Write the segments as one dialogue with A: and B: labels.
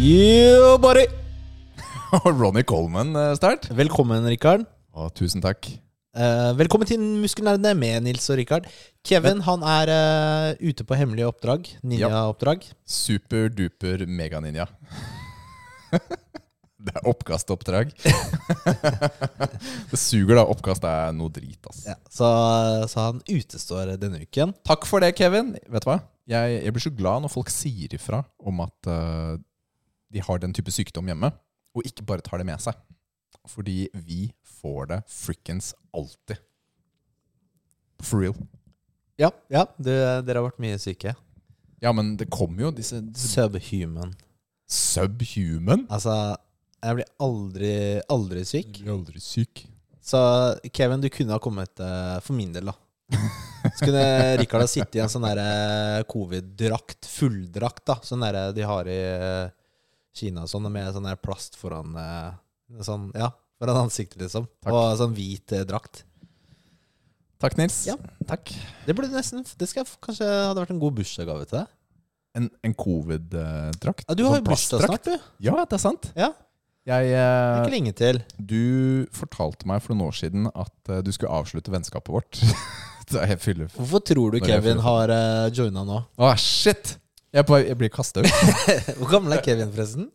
A: Yeah, buddy! Og Ronny Coleman eh, sterkt.
B: Velkommen, Rikard.
A: Å, Tusen takk.
B: Eh, velkommen til Muskelnerdene med Nils og Rikard. Kevin han er eh, ute på hemmelige oppdrag. Ninjaoppdrag.
A: Superduper meganinja. det er oppkastoppdrag. det suger, da. Oppkast er noe drit, ass.
B: Ja, så, eh, så han utestår denne uken.
A: Takk for det, Kevin. Vet du hva? Jeg, jeg blir så glad når folk sier ifra om at eh, de har den type sykdom hjemme, og ikke bare tar det med seg. Fordi vi får det frikkens alltid. For real.
B: Ja, ja du, dere har vært mye syke.
A: Ja, men det kommer jo disse,
B: Mm.
A: disse
B: Subhuman.
A: subhuman.
B: Altså, jeg blir aldri, aldri syk.
A: blir aldri syk.
B: Så Kevin, du kunne ha kommet eh, for min del, da. Så kunne Rikard ha sittet i en sånn derre covid-drakt, fulldrakt, da. Sånn derre de har i eh, Kina og sånn, med sånn der plast foran eh, Sånn, ja, foran ansiktet, liksom.
A: Takk.
B: Og sånn hvit eh, drakt.
A: Takk, Nils.
B: Ja.
A: Takk.
B: Det burde nesten Det skal jeg f- kanskje hadde vært en god bursdagsgave til deg.
A: En, en covid-drakt.
B: Ja, du har
A: Sånn
B: jo bursdag
A: plastdrakt.
B: snart, du.
A: Ja, det er sant.
B: Ja, det
A: Jeg,
B: er
A: eh,
B: ikke lenge til.
A: du fortalte meg for noen år siden at eh, du skulle avslutte vennskapet vårt. da jeg fyller
B: Hvorfor tror du
A: Når jeg
B: Kevin
A: får-
B: har uh, joina nå?
A: Å, shit! Jeg, er på, jeg blir kastet ut.
B: Hvor gammel er Kevin, forresten?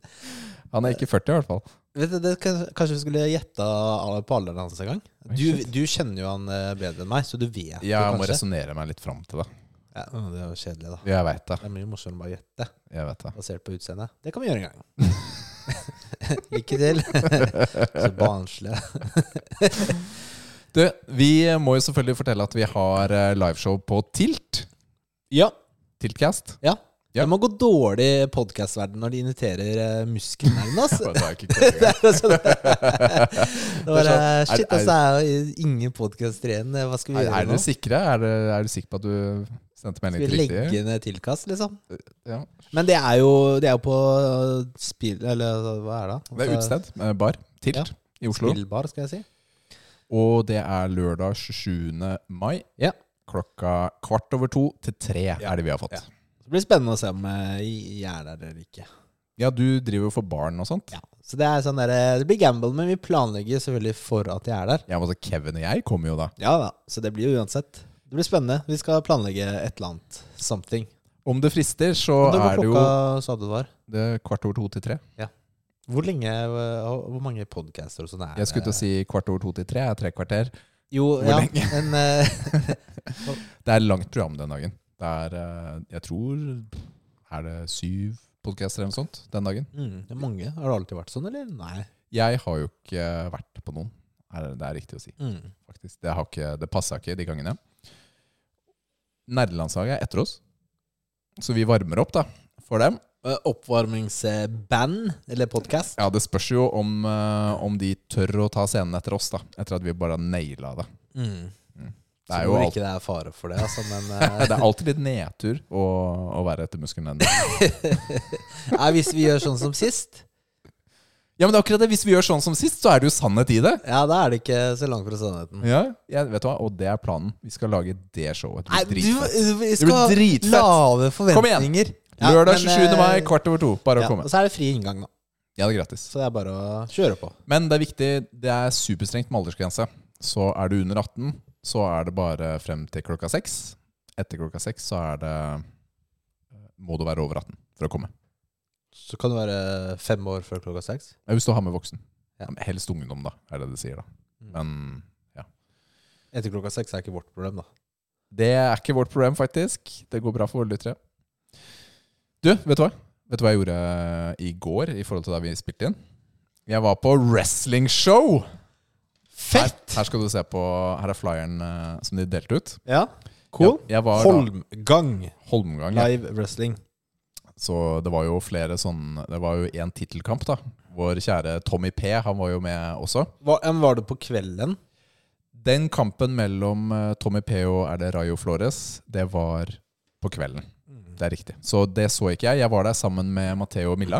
A: Han er ikke 40 i hvert fall.
B: Vet du, det, kan- Kanskje vi skulle gjetta alle- på alderen hans en gang?
A: Oi,
B: Du,
A: shit.
B: du kjenner jo han eh, bedre enn meg, så du vet jo
A: Jeg må
B: kanskje.
A: resonnere meg litt fram til det.
B: Ja, å, det er jo kjedelig, da.
A: Jeg veit det.
B: Det er mye morsommere å bare gjette
A: Jeg vet det.
B: basert på utseendet. Det kan vi gjøre en gang. Lykke til. så barnslig.
A: Du, vi må jo selvfølgelig fortelle at vi har eh, liveshow på Tilt.
B: Ja.
A: Tiltcast.
B: ja.
A: Ja.
B: Det må gå dårlig i podkastverdenen når de inviterer eh, muskelnerdene, ass.
A: Det er ikke kødd engang.
B: Altså, det det var, eh,
A: Det er sånn, er-
B: shit,
A: er-
B: altså, det er jo ingen podkaster igjen. Hva skal vi
A: Er,
B: gjøre
A: er
B: nå?
A: dere sikre? Er, det- er du sikker på at du sendte
B: Skal
A: melding
B: vi
A: til riktig?
B: legge ned tilkast, liksom?
A: Ja.
B: Men det er jo, det er jo på øh, spill... Eller hva er det? da?
A: Det er
B: Altså,
A: utested. eh, Bar. Tilt
B: Ja.
A: i Oslo.
B: Spillbar, skal jeg si.
A: Og det er lørdag 27. mai.
B: Ja.
A: Klokka kvart over to til tre
B: Ja.
A: er det vi har fått.
B: Ja.
A: Ja,
B: Så blir det spennende å se om øh, jeg er der eller ikke.
A: du driver jo for barn og sånt.
B: Ja. Så det er sånn der, øh, det blir gamble, men vi planlegger selvfølgelig for at jeg er der.
A: Ja, men altså Kevin og jeg kommer jo da.
B: Ja da, Så det blir jo uansett. Det blir spennende. Vi skal planlegge et eller annet. Something.
A: Om det frister, så
B: Og det var
A: er det jo
B: klokka, sa du det var.
A: det er kvart over to til tre.
B: Hvor lenge, øh, og hvor mange podcaster og sånn er
A: Jeg skulle til å si kvart over to til tre er tre kvarter.
B: Jo,
A: hvor
B: ja,
A: lenge?
B: men øh,
A: Det er langt program den dagen. Det er, eh, jeg tror, er det syv podcaster eller noe sånt den dagen?
B: mm, det er mange. Har det alltid vært sånn, eller? Nei.
A: Jeg har jo ikke vært på noen. Er det det er riktig å si,
B: Mm.
A: faktisk. Det, har ikke, det passa ikke de gangene. Nerdelandslaget er etter oss, så vi varmer opp da, for dem.
B: Øh, Oppvarmingsband, eller podcast.
A: Ja, Det spørs jo om, eh, om de tør å ta scenen etter oss, da. Etter at vi bare har naila det.
B: Mm.
A: Det er
B: så
A: jo
B: hvor
A: alt-
B: ikke det er fare for det, altså. Men
A: Det
B: eh,
A: er alltid litt nedtur å, å være etter muskelmenn.
B: nei, hvis vi gjør sånn som sist,
A: Ja, men det er akkurat det. Hvis vi gjør sånn som sist, så er det jo sannhet i det.
B: ja, da er det ikke så langt fra sannheten.
A: Ja, jeg, vet du hva? Og det er planen. Vi skal lage det showet. Det
B: Nei,
A: blir
B: du,
A: dritfett.
B: du vi
A: Det
B: skal
A: blir
B: ha
A: dritfett.
B: lave forventninger. Ja,
A: Lørdag
B: men, eh,
A: 27. mai, kvart over to. Bare
B: ja,
A: å komme.
B: Og så er det fri inngang nå,
A: Ja, det er gratis.
B: så det er bare å kjøre på.
A: Men det er viktig. Det er superstrengt med aldersgrense. Så er du under 18, så er det bare frem til klokka seks. Etter klokka seks så er det Må du være over 18 for å komme.
B: Så kan det være fem år før klokka seks.
A: Ja, Hvis du har med voksen.
B: Ja.
A: Helst ungdom, da, er det det sier. da Men
B: Etter klokka seks er ikke vårt problem, da.
A: det er ikke vårt problem, faktisk. Det går bra for våre lyttere. Du, vet du hva? Vet du hva jeg gjorde eh, i går i forhold til da vi spilte inn? Jeg var på wrestlingshow! Her,
B: Fett!
A: her skal du se på Her er flyeren eh, som de delte ut.
B: Ja, cool.
A: Jeg, jeg var da-
B: Holmgang
A: Holmgang. ja.
B: Live Wrestling.
A: Så det var jo flere sånn Det var jo én tittelkamp, da. Vår kjære Tommy P, han var jo med også.
B: Var, ja, men var det på kvelden?
A: Den kampen mellom eh, Tommy P og er det Rayo Flores, det var på kvelden. Det er riktig. Så det så ikke jeg. Jeg var der sammen med Matheo og Milla.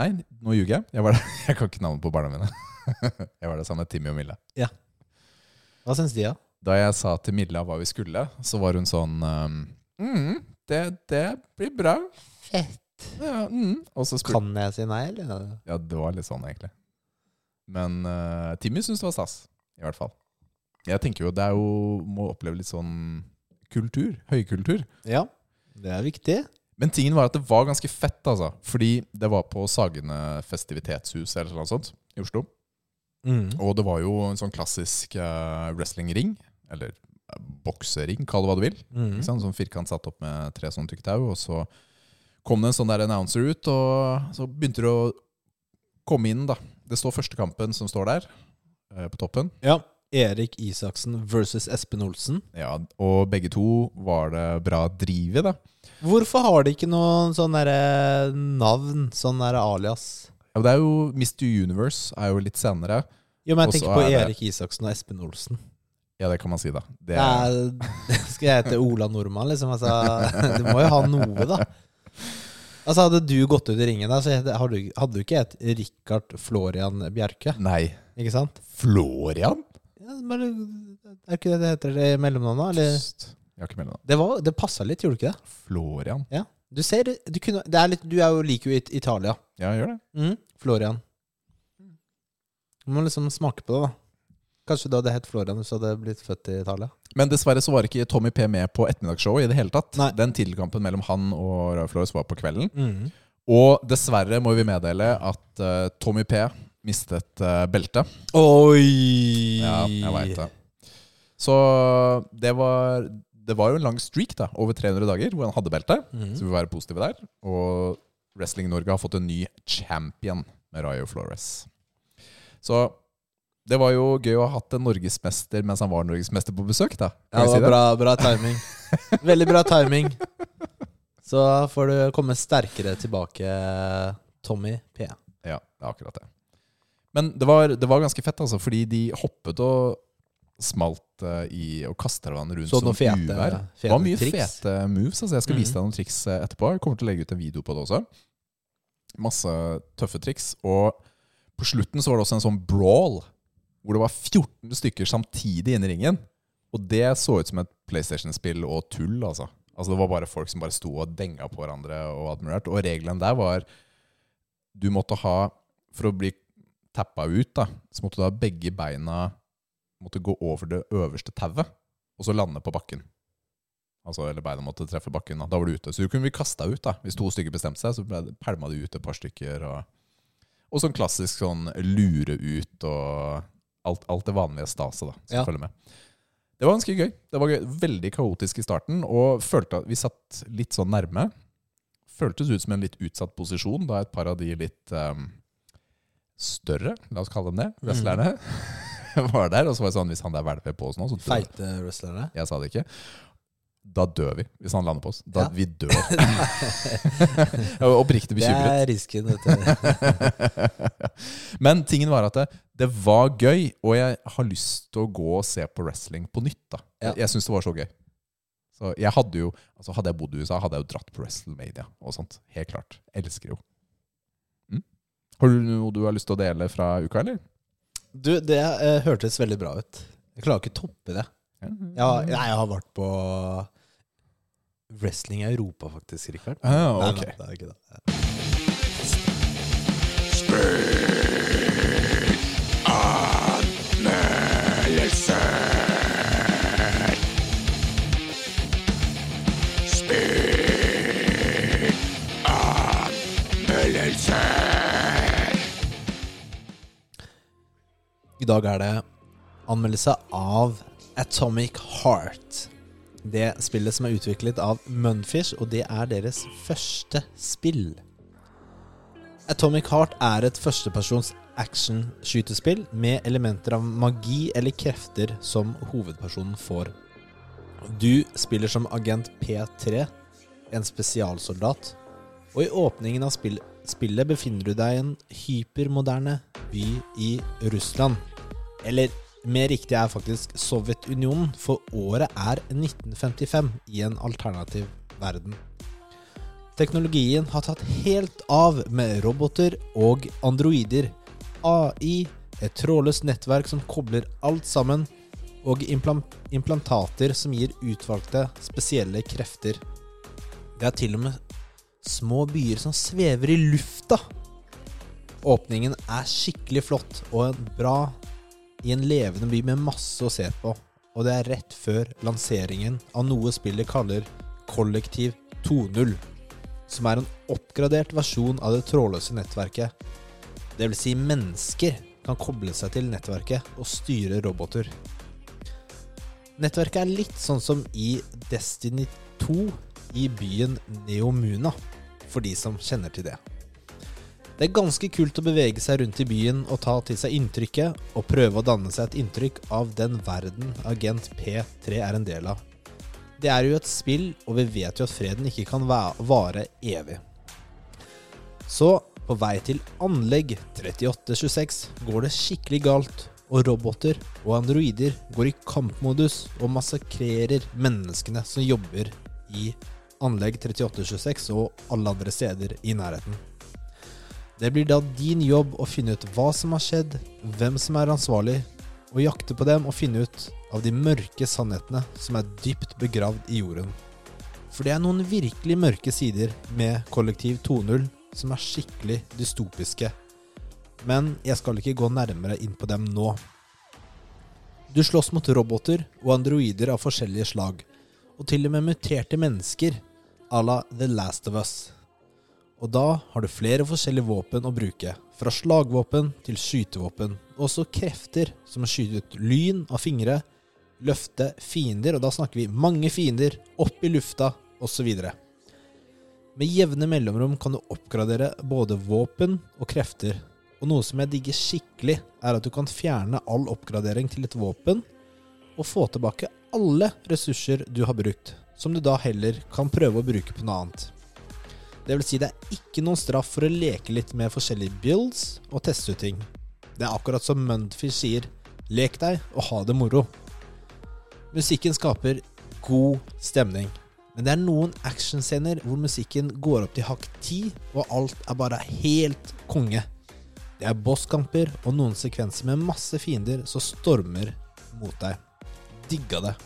A: Nei, nå ljuger jeg. Jeg, var der. jeg kan ikke navnet på barna mine. Jeg var der sammen med Timmy og Milla.
B: Hva syns de, da?
A: Da jeg sa til Milla hva vi skulle, så var hun sånn eh, mm, det, det blir bra.
B: Fett.
A: Ja, mm. Og så spurte
B: Kan jeg si nei, eller?
A: Ja, det var litt sånn, egentlig. Men eh, Timmy syns det var stas, i hvert fall. Jeg tenker jo det er jo Må oppleve litt sånn kultur. Høykultur.
B: Ja. Det er viktig.
A: Men tingen var at det var ganske fett, altså. Fordi det var på Sagene festivitetshus eller noe sånt i Oslo.
B: Mm,
A: Og det var jo en sånn klassisk eh, wrestlingring. Eller eh, boksering, kall det hva du vil.
B: Mm.
A: Ikke sant? Sånn firkant satt opp med tre sånne tykk tau, og så kom det en sånn der announcer ut, og så begynte det å komme inn, da. Det står første kampen som står der, eh, på toppen.
B: Ja. Erik Isaksen versus Espen Olsen.
A: Ja, og begge to var det bra driv i, da.
B: Hvorfor har de ikke noen sånn derre navn? Sånn derre alias?
A: Ja, men det er jo Mr. Universe er jo litt senere.
B: Jo, men
A: Og
B: jeg tenker
A: så
B: på
A: er det-
B: Erik Isaksen og Espen Olsen.
A: Ja, det kan man si, da. Det
B: Ja.
A: er,
B: Skal jeg hete Ola Nordmann, liksom? Altså, du må jo ha noe, da. Altså, Hadde du gått ut i ringen, altså, da, så hadde du, hadde du ikke hett Rikard Florian Bjerke.
A: nei,
B: Ikke sant?
A: Florian?
B: Ja, bare, er ikke det det heter det i mellomnavnet? Eller?
A: Pst, Jeg har ikke meldt meg.
B: Det, var- det passa litt, gjorde det ikke det?
A: Florian?
B: Ja. Du ser, du, kunne, det er litt, du er jo liker jo i- Italia.
A: Ja, gjør det.
B: Florian. Du må liksom smake på det, da. Kanskje du hadde hett Florian hvis du hadde blitt født i Italia?
A: Men dessverre så var ikke Tommy P med på ettermiddagsshowet i det hele tatt.
B: Nei.
A: Den tittelkampen mellom han og Ray Flores var på kvelden. Og dessverre må vi meddele at eh, Tommy P mistet uh, beltet.
B: Oi!
A: Ja, jeg veit det. Så det var, det var jo en lang streak, da, over 300 dager, hvor han hadde belte.
B: Mhm.
A: Så vi får være positive der. Og Wrestling-Norge har fått en ny champion med Rayo Flores. Så det var jo gøy å ha hatt en norgesmester mens han var norgesmester på besøk, da.
B: Ja,
A: Kan vi
B: det
A: si
B: var bra, bra timing. Veldig bra timing. Så får du komme sterkere tilbake, Tommy P.
A: Ja, det er akkurat det. Men det var, det var ganske fett, altså, fordi de hoppet og smalt eh, i og kasta hverandre rundt
B: Så noen fete,
A: uvær.
B: fete
A: Det var mye
B: triks.
A: fete moves. Altså, jeg skal
B: Mhm.
A: vise deg noen triks eh, etterpå. Jeg kommer til å legge ut en video på det også. Masse tøffe triks. Og på slutten så var det også en sånn brawl, hvor det var 14 stykker samtidig inne i ringen. Og det så ut som et PlayStation-spill og tull, altså. Altså Det var bare folk som bare sto og denga på hverandre og admirert. Og regelen der var du måtte ha For å bli tappa ut, da, så måtte du ha begge beina måtte gå over det øverste tauet og så lande på bakken. Altså, eller beina måtte treffe bakken. Da, da var du ute. Så du kunne bli kasta ut. da. Hvis to stykker bestemte seg, så ble det- pælma du ut et par stykker. Og, og sånn klassisk sånn lure ut og alt, alt det vanlige staset da, som
B: Ja.
A: følger med. Det var ganske gøy. Det var gøy. Veldig kaotisk i starten, og følte at vi satt litt sånn nærme. Føltes ut som en litt utsatt posisjon, da et par av de litt ehm, større, la oss kalle dem det, wrestlerne, var der. Og så var det sånn, hvis han der hvelver på oss nå, så dør
B: Feite wrestlerne.
A: jeg sa det ikke. Da dør vi, hvis han lander på oss. Da
B: Ja.
A: Vi dør. jeg var oppriktig
B: Det
A: bekymret.
B: er risken, vet du.
A: Men tingen var at det, det var gøy, og jeg har lyst til å gå og se på wrestling på nytt. da.
B: Ja.
A: Jeg, jeg syns det var så gøy. Så jeg Hadde jo, altså hadde jeg bodd i USA, hadde jeg jo dratt på WrestleMania og sånt. Helt klart. Elsker jo. Mm. Har du noe du har lyst til å dele fra uka, eller?
B: Du, det eh, hørtes veldig bra ut. Jeg klarer ikke å toppe det. Jeg har, nei, jeg har vært på wrestling i Europa, faktisk, Rikard.
A: Ah, ok.
B: Nei, nei, det er ikke det. I dag er det anmeldelse av Atomic Heart. Det spillet som er utviklet av Munfish, og det er deres første spill. Atomic Heart er et førstepersons action-skytespill med elementer av magi eller krefter som hovedpersonen får. Du spiller som agent P3, en spesialsoldat, Og i åpningen av spill spillet befinner du deg i en hypermoderne by i Russland. Eller mer riktig er faktisk Sovjetunionen, for året er 1955 i en alternativ verden. Teknologien har tatt helt av med roboter og androider. AI, et trådløst nettverk som kobler alt sammen, og implan- implantater som gir utvalgte spesielle krefter. Det er til og med små byer som svever i lufta. Åpningen er skikkelig flott og en bra i en levende by med masse å se på. Og det er rett før lanseringen av noe spillet kaller Kollektiv 2.0, som er en oppgradert versjon av det trådløse nettverket. Det vil si mennesker kan koble seg til nettverket og styre roboter. Nettverket er litt sånn som i Destiny 2 i byen Neomuna, for de som kjenner til det. Det er ganske kult å bevege seg rundt i byen og ta til seg inntrykket, og prøve å danne seg et inntrykk av den verden agent P3 er en del av. Det er jo et spill, og vi vet jo at freden ikke kan væ- vare evig. Så, på vei til anlegg 3826 går det skikkelig galt, og roboter og androider går i kampmodus og massakrerer menneskene som jobber i anlegg 3826 og alle andre steder i nærheten. Det blir da din jobb å finne ut hva som har skjedd, hvem som er ansvarlig, og jakte på dem og finne ut av de mørke sannhetene som er dypt begravd i jorden. For det er noen virkelig mørke sider med Kollektiv 2.0 som er skikkelig dystopiske. Men jeg skal ikke gå nærmere inn på dem nå. Du slåss mot roboter og androider av forskjellige slag, og til og med muterte mennesker à la The Last of Us. Og da har du flere forskjellige våpen å bruke, fra slagvåpen til skytevåpen, og også krefter som å skyte ut lyn av fingre, løfte fiender, og da snakker vi mange fiender, opp i lufta, osv. Med jevne mellomrom kan du oppgradere både våpen og krefter, og noe som jeg digger skikkelig, er at du kan fjerne all oppgradering til et våpen, og få tilbake alle ressurser du har brukt, som du da heller kan prøve å bruke på noe annet. Det vil si det er ikke noen straff for å leke litt med forskjellige builds og teste ut ting. Det er akkurat som Mundfish sier, lek deg og ha det moro. Musikken skaper god stemning, men det er noen actionscener hvor musikken går opp til hakk 10, og alt er bare helt konge. Det er bosskamper og noen sekvenser med masse fiender som stormer mot deg. Digga det.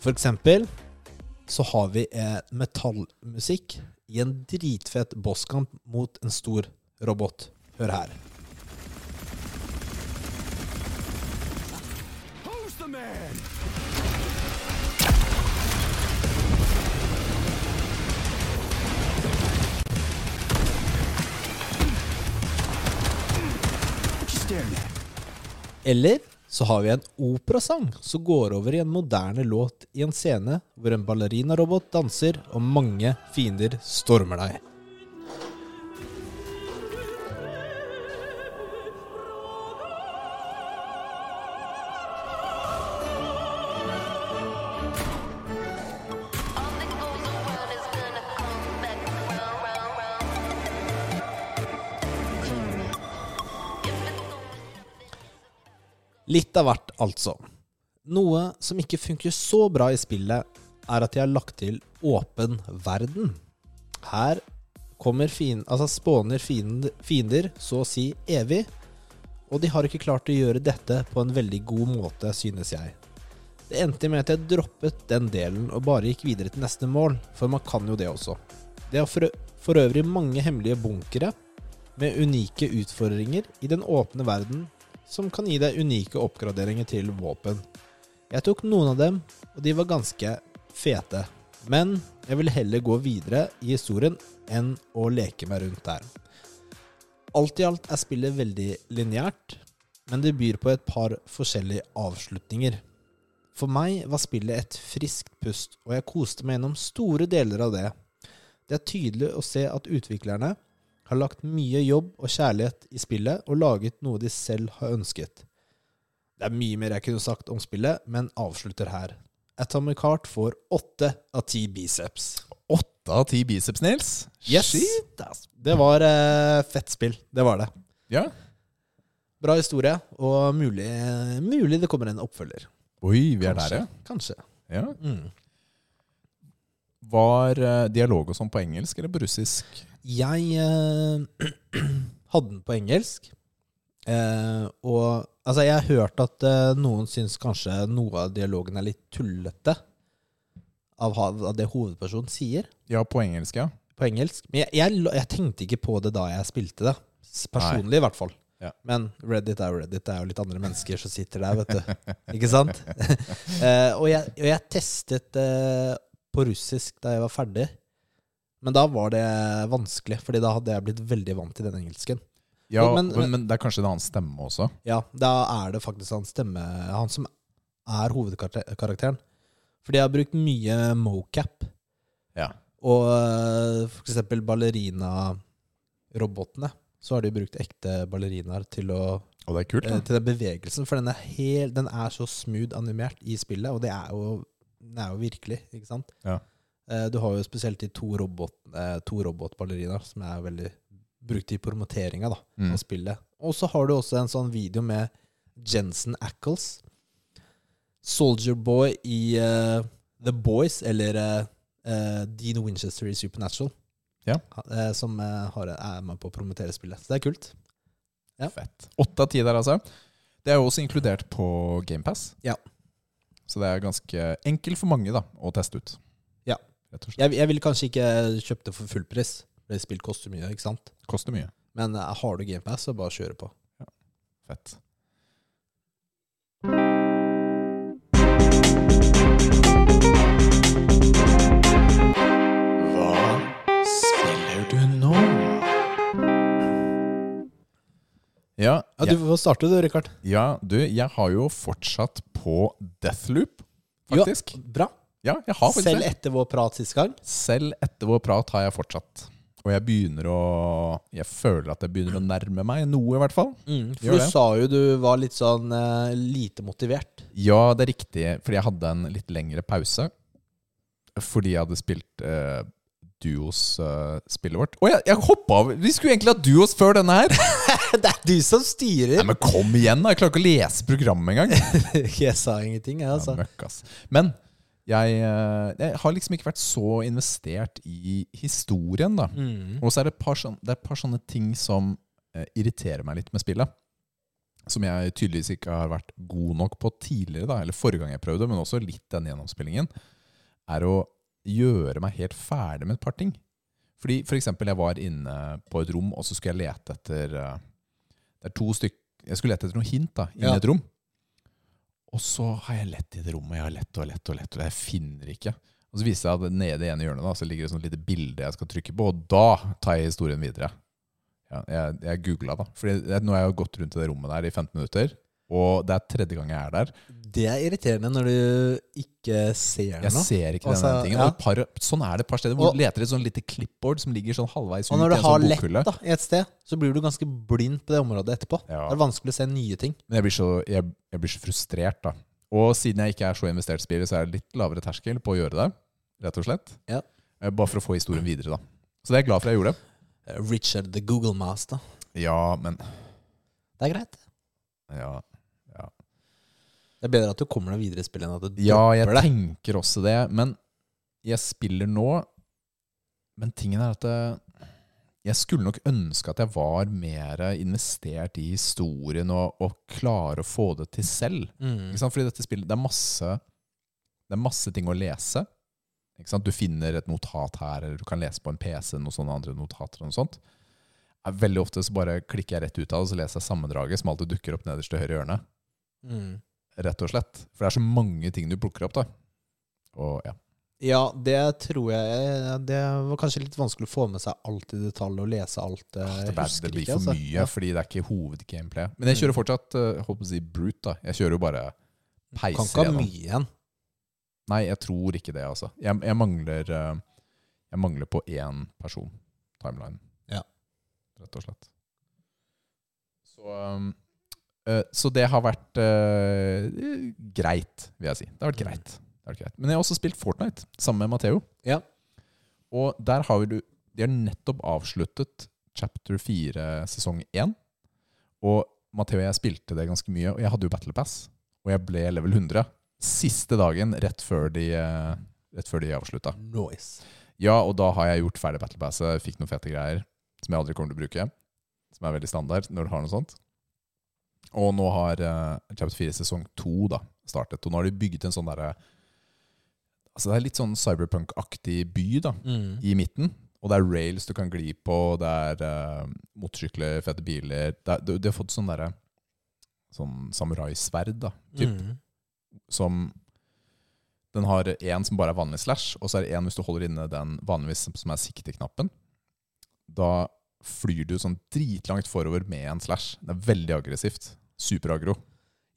B: For eksempel så har vi eh, metallmusikk i en dritfett bosskamp mot en stor robot. Hør her.
C: Who's the man? What you staring at?
B: Eller så har vi en operasang som går over i en moderne låt i en scene hvor en ballerinarobot danser og mange fiender stormer deg.
D: All that goes around is gonna come back round, round, round. If it's going
B: Litt av hvert, altså. Noe som ikke funker så bra i spillet, er at jeg har lagt til åpen verden. Her kommer fienden, altså spåner fiend- fiender så å si evig, og de har ikke klart å gjøre dette på en veldig god måte, synes jeg. Det endte med at jeg droppet den delen og bare gikk videre til neste mål, for man kan jo det også. Det er for, ø- for øvrig mange hemmelige bunkere med unike utfordringer i den åpne verden som kan gi deg unike oppgraderinger til våpen. Jeg tok noen av dem, og de var ganske fete. Men jeg vil heller gå videre i historien enn å leke meg rundt der. Alt i alt er spillet veldig lineært, men det byr på et par forskjellige avslutninger. For meg var spillet et friskt pust, og jeg koste meg gjennom store deler av det. Det er tydelig å se at utviklerne har lagt mye jobb og kjærlighet i spillet og laget noe de selv har ønsket. Det er mye mer jeg kunne sagt om spillet, men avslutter her. Atomic Heart får åtte av ti biceps.
A: åtte av ti biceps, Nils.
B: Yes.
A: Shit.
B: ass. Det var eh, fett spill. Det var det.
A: Ja.
B: Bra historie, og mulig, mulig det kommer en oppfølger.
A: Oi, vi er
B: Kanskje. Mm.
A: der, ja.
B: Kanskje.
A: ja.
B: Mm.
A: Var eh, dialog og sånn på engelsk eller på russisk?
B: Jeg eh, hadde den på engelsk. Eh, og altså, jeg har hørt at eh, noen syns kanskje noe av dialogen er litt tullete. Av, ha- av det hovedpersonen sier
A: Ja, på engelsk, ja.
B: på engelsk. Men jeg, jeg, lo- jeg tenkte ikke på det da jeg spilte det. S- Personlig, i hvert fall.
A: Ja.
B: Men Reddit er jo Reddit. Det er jo litt andre mennesker som sitter der, vet du. Ikke sant? Eh, og, jeg, og jeg testet eh, på russisk da jeg var ferdig. Men da var det vanskelig, Fordi da hadde jeg blitt veldig vant til den engelsken.
A: ja
B: Men-
A: men,
B: men-
A: men det er kanskje en annen stemme også?
B: Ja, da er det faktisk han stemme Han som er hovedkarakteren. Fordi jeg har brukt mye mocap.
A: Ja.
B: Og eh, for eksempel ballerina-robotene. Så har de brukt ekte ballerinaer til, å,
A: Og det er kult,
B: eh,
A: da.
B: til den bevegelsen. For den er, hel, den er så smooth animert i spillet, og det er jo, den er jo virkelig, ikke sant?
A: Ja.
B: Eh, Du har jo spesielt de to, robot, eh, to robotballerinaer som er veldig brukt i promoteringa da,
A: Mm.
B: av spillet. Og så har du også en sånn video med Jensen Ackles. Soldier Boy i eh, The Boys, eller eh, eh, Dean Winchester i Supernatural.
A: Ja.
B: Eh, som eh, har, er med på å promotere spillet. Så det er kult. Ja.
A: Fett. Åtte av ti der, altså. Det er jo også inkludert på GamePass.
B: Ja.
A: Så det er ganske enkelt for mange da, å teste ut.
B: Ja.
A: Rett og slett.
B: Jeg, jeg ville kanskje ikke kjøpt det for fullpris. Det spill koster mye, ikke sant?
A: Koster mye.
B: Men eh, har du GamePass, så bare kjøre på.
A: Fett.
E: spiller du nå?
A: Ja,
B: Ja, Du får starte, du, Rikard.
A: jeg, ja, du, jeg har jo fortsatt på Deathloop, faktisk.
B: Bra.
A: Ja, jeg har faktisk
B: Selv
A: det.
B: etter vår prat sist gang.
A: Selv etter vår prat har jeg fortsatt. Og jeg begynner å Jeg føler at jeg begynner å nærme meg noe, i hvert fall.
B: for
A: Mm, Gjør
B: du
A: det.
B: sa jo du var litt sånn eh, lite motivert.
A: Ja, det er riktig, fordi jeg hadde en litt lengre pause. Fordi jeg hadde spilt eh, Duos-spillet vårt. Å, jeg, jeg hoppa av! Vi skulle egentlig ha Duos før denne her!
B: det er du som
A: Nei,
B: styrer!
A: men kom igjen, da! Jeg klarer ikke å lese programmet engang.
B: jeg sa ingenting, jeg, altså.
A: Ja, møkk, ass. Men jeg, eh, jeg har liksom ikke vært så investert i historien, da.
B: Mm.
A: Og så er det et par, sånn, det er et par sånne ting som eh, irriterer meg litt med spillet. Som jeg tydeligvis ikke har vært god nok på tidligere, da, eller forrige gang jeg prøvde, men også litt den gjennomspillingen, er å gjøre meg helt ferdig med et par ting. Fordi for eksempel jeg var inne på et rom, og så skulle jeg lete etter eh, Det er to stykk Jeg skulle lete etter noen hint da, inni
B: Ja.
A: et rom. Og så har jeg lett i det rommet, jeg har lett og lett og lett, og jeg finner ikke. Og så viser jeg at nede i det ene hjørnet da, så ligger det et sånt lite bilde jeg skal trykke på, og da tar jeg historien videre. Ja, jeg jeg googla, da. Fordi jeg, nå har jeg gått rundt i det rommet der i 15 minutter, og det er tredje gang jeg er der.
B: Det er irriterende når du ikke ser
A: Jeg
B: noe.
A: ser ikke
B: Altså,
A: denne tingen.
B: ja.
A: Og et par, sånn er det et par steder hvor
B: Og-
A: du leter et sånn lite clipboard som ligger sånn halvveis ut
B: Og
A: i
B: når du
A: en
B: har
A: sånn
B: lett
A: bokhylle.
B: da, i et sted, så blir du ganske blind på det området etterpå.
A: Ja.
B: Det er vanskelig å se nye ting.
A: Men jeg blir, så, jeg, jeg blir så frustrert, da. Og siden jeg ikke er så investert i spillet, så er det litt lavere terskel på å gjøre det. Rett og slett.
B: Ja.
A: Eh, Bare for å få historien videre, da. Så det er jeg glad for jeg gjorde.
B: Eh, Richard the Google Master.
A: Ja, men
B: Det er greit.
A: Ja,
B: Det er bedre at du kommer deg videre i spillet enn at du
A: ja jeg
B: dropper det.
A: tenker også det. Men jeg spiller nå. Men tingen er at eh, jeg skulle nok ønske at jeg var mer investert i historien og, og klare å få det til selv.
B: Mm.
A: Ikke sant? Fordi dette spillet, det er masse Det er masse ting å lese. Ikke sant? Du finner et notat her, eller du kan lese på en PC noen sånne andre notater. og noe sånt. Eh, Veldig ofte så bare klikker jeg rett ut av det, og så leser jeg sammendraget, som alltid dukker opp nederst til høyre hjørne.
B: Mm.
A: Rett og slett. For det er så mange ting du plukker opp, da. Og ja.
B: Ja, det tror jeg Det var kanskje litt vanskelig å få med seg alt i detalj og lese alt. eh,
A: Ah, Det, ble, det blir
B: altså.
A: for mye, fordi det er ikke hovedgameplay. Men
B: Mm.
A: jeg kjører fortsatt eh, holdt på å si brute, da. Jeg kjører jo bare
B: Kan
A: peiser
B: ikke ha
A: gjennom.
B: mye igjen.
A: Nei, jeg tror ikke det, altså. Jeg, jeg mangler eh, Jeg mangler på én person. Timeline.
B: Ja.
A: Rett og slett. Så um, eh, Så det har vært eh,
B: Mm.
A: greit, vil jeg si. Det har vært greit. Det har vært greit. Men jeg har også spilt Fortnite sammen med Matheo.
B: Ja.
A: Og der har du De har nettopp avsluttet chapter 4, sesong 1. Og Matheo og jeg spilte det ganske mye, og jeg hadde jo Battle Pass. Og jeg ble level 100 siste dagen rett før de, eh, rett før de avslutta.
B: Noise.
A: Ja, og da har jeg gjort ferdig Battle Passet, fikk noen fete greier som jeg aldri kommer til å bruke. Som er veldig standard når du har noe sånt. Og nå har eh, Chapter 4 sesong 2 da, startet, og nå har de bygget en sånn derre Altså det er litt sånn cyberpunk-aktig by da,
B: Mm.
A: i midten. Og det er rails du kan gli på, det er eh, motorsykler, fete biler det er, du, du har fått sånn derre Sånn samuraisverd, da, typ
B: Mm.
A: som Den har én som bare er vanlig slash, og så er det én hvis du holder inne den vanligvis som- som er sikteknappen. Da flyr du sånn dritlangt forover med en slash. Det er veldig aggressivt. Superaggro.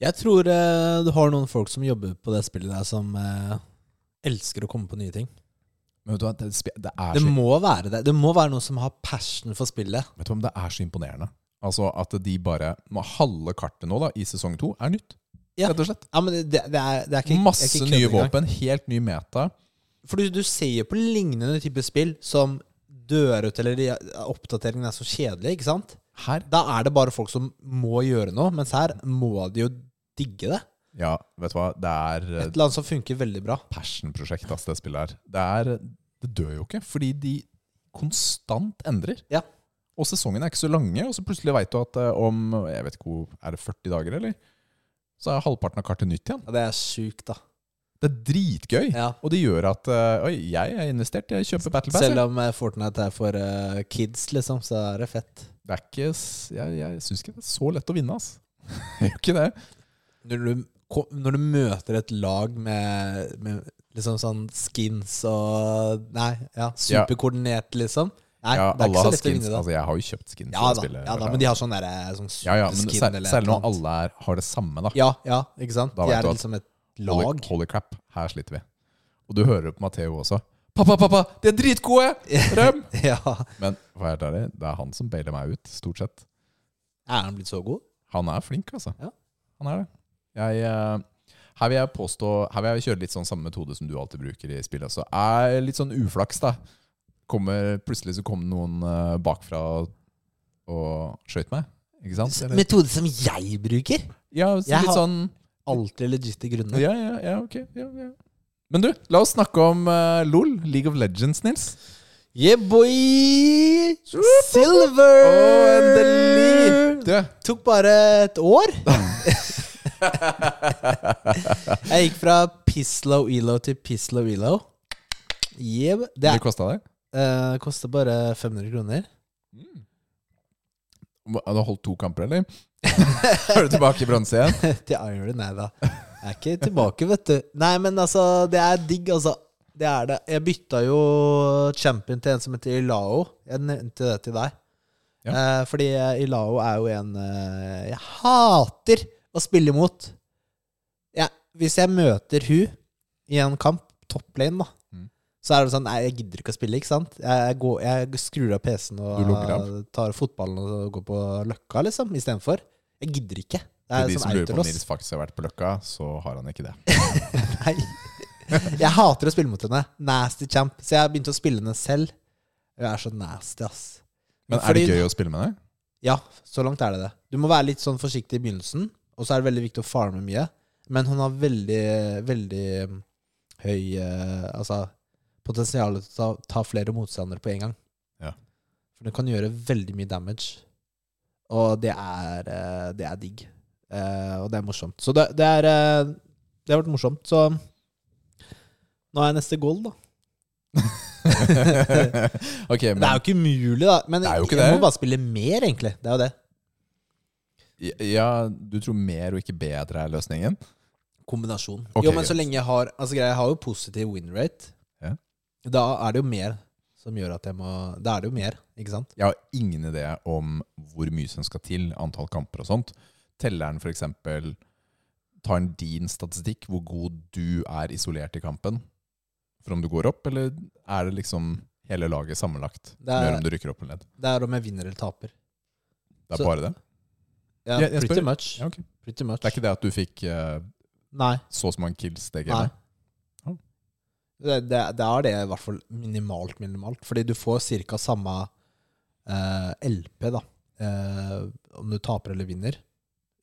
B: Jeg tror eh, du har noen folk som jobber på det spillet der, som eh, elsker å komme på nye ting.
A: Men vet du hva, det, spe- det er
B: Det
A: så,
B: må være det. Det må være noen som har passion for spillet.
A: vet du hva, men det er så imponerende. Altså at de bare med Halve kartet nå da, i sesong to er nytt,
B: Ja.
A: rett og slett.
B: Ja, men det, det, er, det er ikke jeg er
A: Masse
B: ikke
A: nye
B: kødd engang.
A: våpen, helt ny meta.
B: For du, du ser jo på lignende type spill som dør ut, eller de, oppdateringen er så kjedelig, ikke sant?
A: Her
B: Da er det bare folk som må gjøre noe, mens her må de jo digge det.
A: Ja, vet du hva, det er eh,
B: Et eller annet som funker veldig bra.
A: passion-prosjekt, ass, det spillet her. Det, er, det dør jo ikke, fordi de konstant endrer.
B: Ja.
A: Og sesongene er ikke så lange, og så plutselig veit du at eh, om jeg vet ikke hvor, er det 40 dager, eller? Så er halvparten av kartet nytt igjen.
B: Ja, det er sjukt, da.
A: Det er dritgøy.
B: Ja.
A: Og det gjør at eh, Oi, jeg er investert, jeg kjøper Battle Pass.
B: Selv
A: jeg.
B: om eh, Fortnite er for eh, kids, liksom, så er det fett.
A: Det er ikke, s- jeg jeg syns ikke det er så lett å vinne, ass. Det er jo ikke det.
B: Når du, ko- når du møter et lag med, med liksom sånn skins og Nei, ja,
A: Ja.
B: superkoordinert, liksom. Nei,
A: Ja,
B: det er
A: alle
B: ikke så
A: har
B: lett å
A: skins.
B: vinne, da.
A: Altså, jeg har jo kjøpt skins.
B: Ja
A: i
B: da,
A: spillet,
B: ja, da, men de har sånn derre sånn
A: ja, ja, men
B: superskin
A: sær-
B: eller
A: Særlig når
B: noe annet.
A: alle er, har det samme, da.
B: Ja, ja, ikke sant?
A: Da
B: De
A: vet
B: er
A: du at-
B: liksom et
A: Holy,
B: lag.
A: holy crap, her sliter vi. Og du hører det på Matheo også. Pappa, pappa, de er dritgode! Røm!
B: Ja.
A: Men for å være helt ærlig, det er han som bailer meg ut, stort sett.
B: Er han blitt så god?
A: Han er flink, altså.
B: Ja.
A: Han er det. Jeg, eh, her vil jeg påstå Her vil jeg kjøre litt sånn samme metode som du alltid bruker i spill også. Er litt sånn uflaks, da. Kommer, plutselig så kom det noen eh, bakfra og, og skøyt meg. Ikke sant? Eller-
B: Metode som jeg bruker?
A: Ja, så
B: Jeg
A: litt
B: har-
A: sånn
B: Alltid legitte grunner.
A: Ja, ja, ja, ok. Ja, ja. Men du, la oss snakke om eh, LOL, League of Legends, Nils.
B: Yeah, boy! Silver!
A: Du,
B: Tok bare et år. jeg gikk fra Pislow Elo til Pislow Elo. Yeah, det
A: det
B: er,
A: kosta deg?
B: eh, koster bare 500 kroner.
A: Hva, Du har holdt to kamper, eller? er du tilbake i bronse igjen?
B: til Iron, nei da. Jeg er ikke tilbake, vet du. Nei, men altså, det er digg, altså. Det er det. Jeg bytta jo champion til en som heter Ilao. Jeg nevnte det til deg.
A: Ja.
B: Eh, fordi Ilao er jo en eh, jeg hater å spille imot. Ja, hvis jeg møter hun i en kamp, top lane, da,
A: Mm.
B: så er det sånn Nei, jeg gidder ikke å spille, ikke sant? Jeg, jeg, går, jeg skrur av PC-en og
A: Du logger av?
B: eh, tar fotballen og går på løkka, liksom, istedenfor. Jeg gidder ikke. Det
A: Til
B: er
A: de
B: sånn
A: som lurer på om
B: autoloss.
A: Nils faktisk har vært på Løkka, så har han ikke det.
B: Nei. Jeg hater å spille mot henne. Nasty champ. Så jeg begynte å spille henne selv. Hun er så nasty, ass.
A: Men er det
B: Fordi-
A: gøy å spille med deg?
B: Ja, så langt er det det. Du må være litt sånn forsiktig i begynnelsen, og så er det veldig viktig å farme mye. Men hun har veldig, veldig um, høy eh, Altså potensial til å ta, ta flere motstandere på en gang.
A: Ja.
B: For den kan gjøre veldig mye damage. Og det er, eh, det er digg. Eh, og det er morsomt. Så det, det er eh, Det har vært morsomt. Så nå er jeg neste goal, da.
A: ok,
B: Men det er
A: men
B: jo ikke umulig, da. Men
A: Det er jo ikke
B: jeg
A: det.
B: må bare spille mer, egentlig. Det er jo det.
A: ja, du tror mer og ikke bedre er løsningen?
B: Kombinasjon.
A: Ok,
B: jo, men så
A: greit.
B: lenge jeg har Altså greia, jeg har jo positiv win rate.
A: Ja.
B: Da er det jo mer som gjør at jeg må Da er det jo mer, ikke sant?
A: Jeg har ingen idé om hvor mye som skal til, antall kamper og sånt. Telleren for eksempel tar en din statistikk, hvor god du er isolert i kampen, for om du går opp, eller er det liksom hele laget sammenlagt,
B: Det er-
A: mer om du rykker opp eller ned?
B: Det er om jeg vinner eller taper.
A: Det er
B: Så-
A: bare det?
B: Ja,
A: Jeg- jeg
B: pretty
A: spør-
B: much.
A: Ja, ok.
B: Pretty much.
A: Det er ikke det at du fikk eh,
B: Nei.
A: så og så mange kills det
B: nei.
A: gamet? Ja.
B: Det, det, det er det i hvert fall minimalt, minimalt. Fordi du får ca. samme eh, LP, da. Eh, om du taper eller vinner.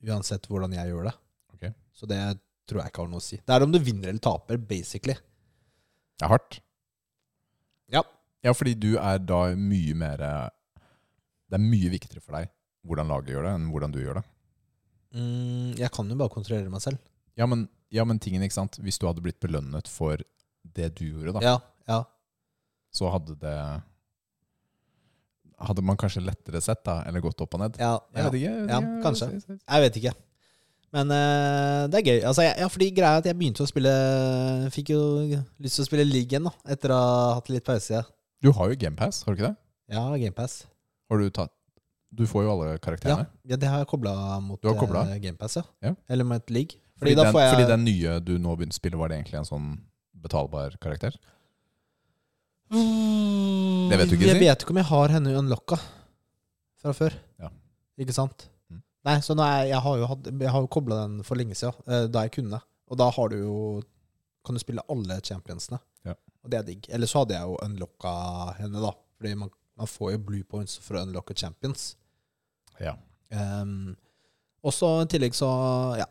B: Uansett hvordan jeg gjør det.
A: Ok.
B: Så det tror jeg ikke har noe å si. Det er om du vinner eller taper, basically.
A: Det er hardt.
B: Ja.
A: Ja, fordi du er da mye mer eh, Det er mye viktigere for deg hvordan laget gjør det, enn hvordan du gjør det.
B: Mm, jeg kan jo bare kontrollere meg selv.
A: Ja, men, ja, men tingen, ikke sant? Hvis du hadde blitt belønnet for det du gjorde, da,
B: Ja, ja.
A: så hadde det Hadde man kanskje lettere sett, da, eller gått opp og ned?
B: ja,
A: Jeg vet ikke. Jeg vet
B: Ja,
A: ikke.
B: kanskje. Jeg vet ikke. Men eh, det er gøy. Altså, jeg, ja, fordi greia er at jeg begynte å spille Fikk jo lyst til å spille league igjen, da. Etter å ha hatt litt pause. Ja,
A: Du har jo GamePass, har du ikke det?
B: ja GamePass.
A: Har du tatt Du får jo alle
B: Ja,
A: karakterene.
B: ja, det har jeg kobla mot
A: Du har koblet?
B: eh, GamePass, ja.
A: Ja.
B: Eller med et league. Fordi,
A: Fordi,
B: da
A: den,
B: får jeg
A: fordi den nye du nå begynte å spille, var det egentlig en sånn betalbar karakter? Det vet du ikke,
B: Mm. Jeg
A: si.
B: vet ikke om jeg har henne unlocka fra før.
A: Ja.
B: Ikke sant?
A: Mm.
B: Nei, så nå er, jeg har jo, hatt- jeg har jo kobla den for lenge siden, eh, da jeg kunne. Og da har du jo kan du spille alle championsene.
A: Ja.
B: Og det er digg. Eller så hadde jeg jo unlocka henne, da. Fordi man, man får jo blue points for å unlocke champions.
A: Ja.
B: Um, og så i tillegg så Ja,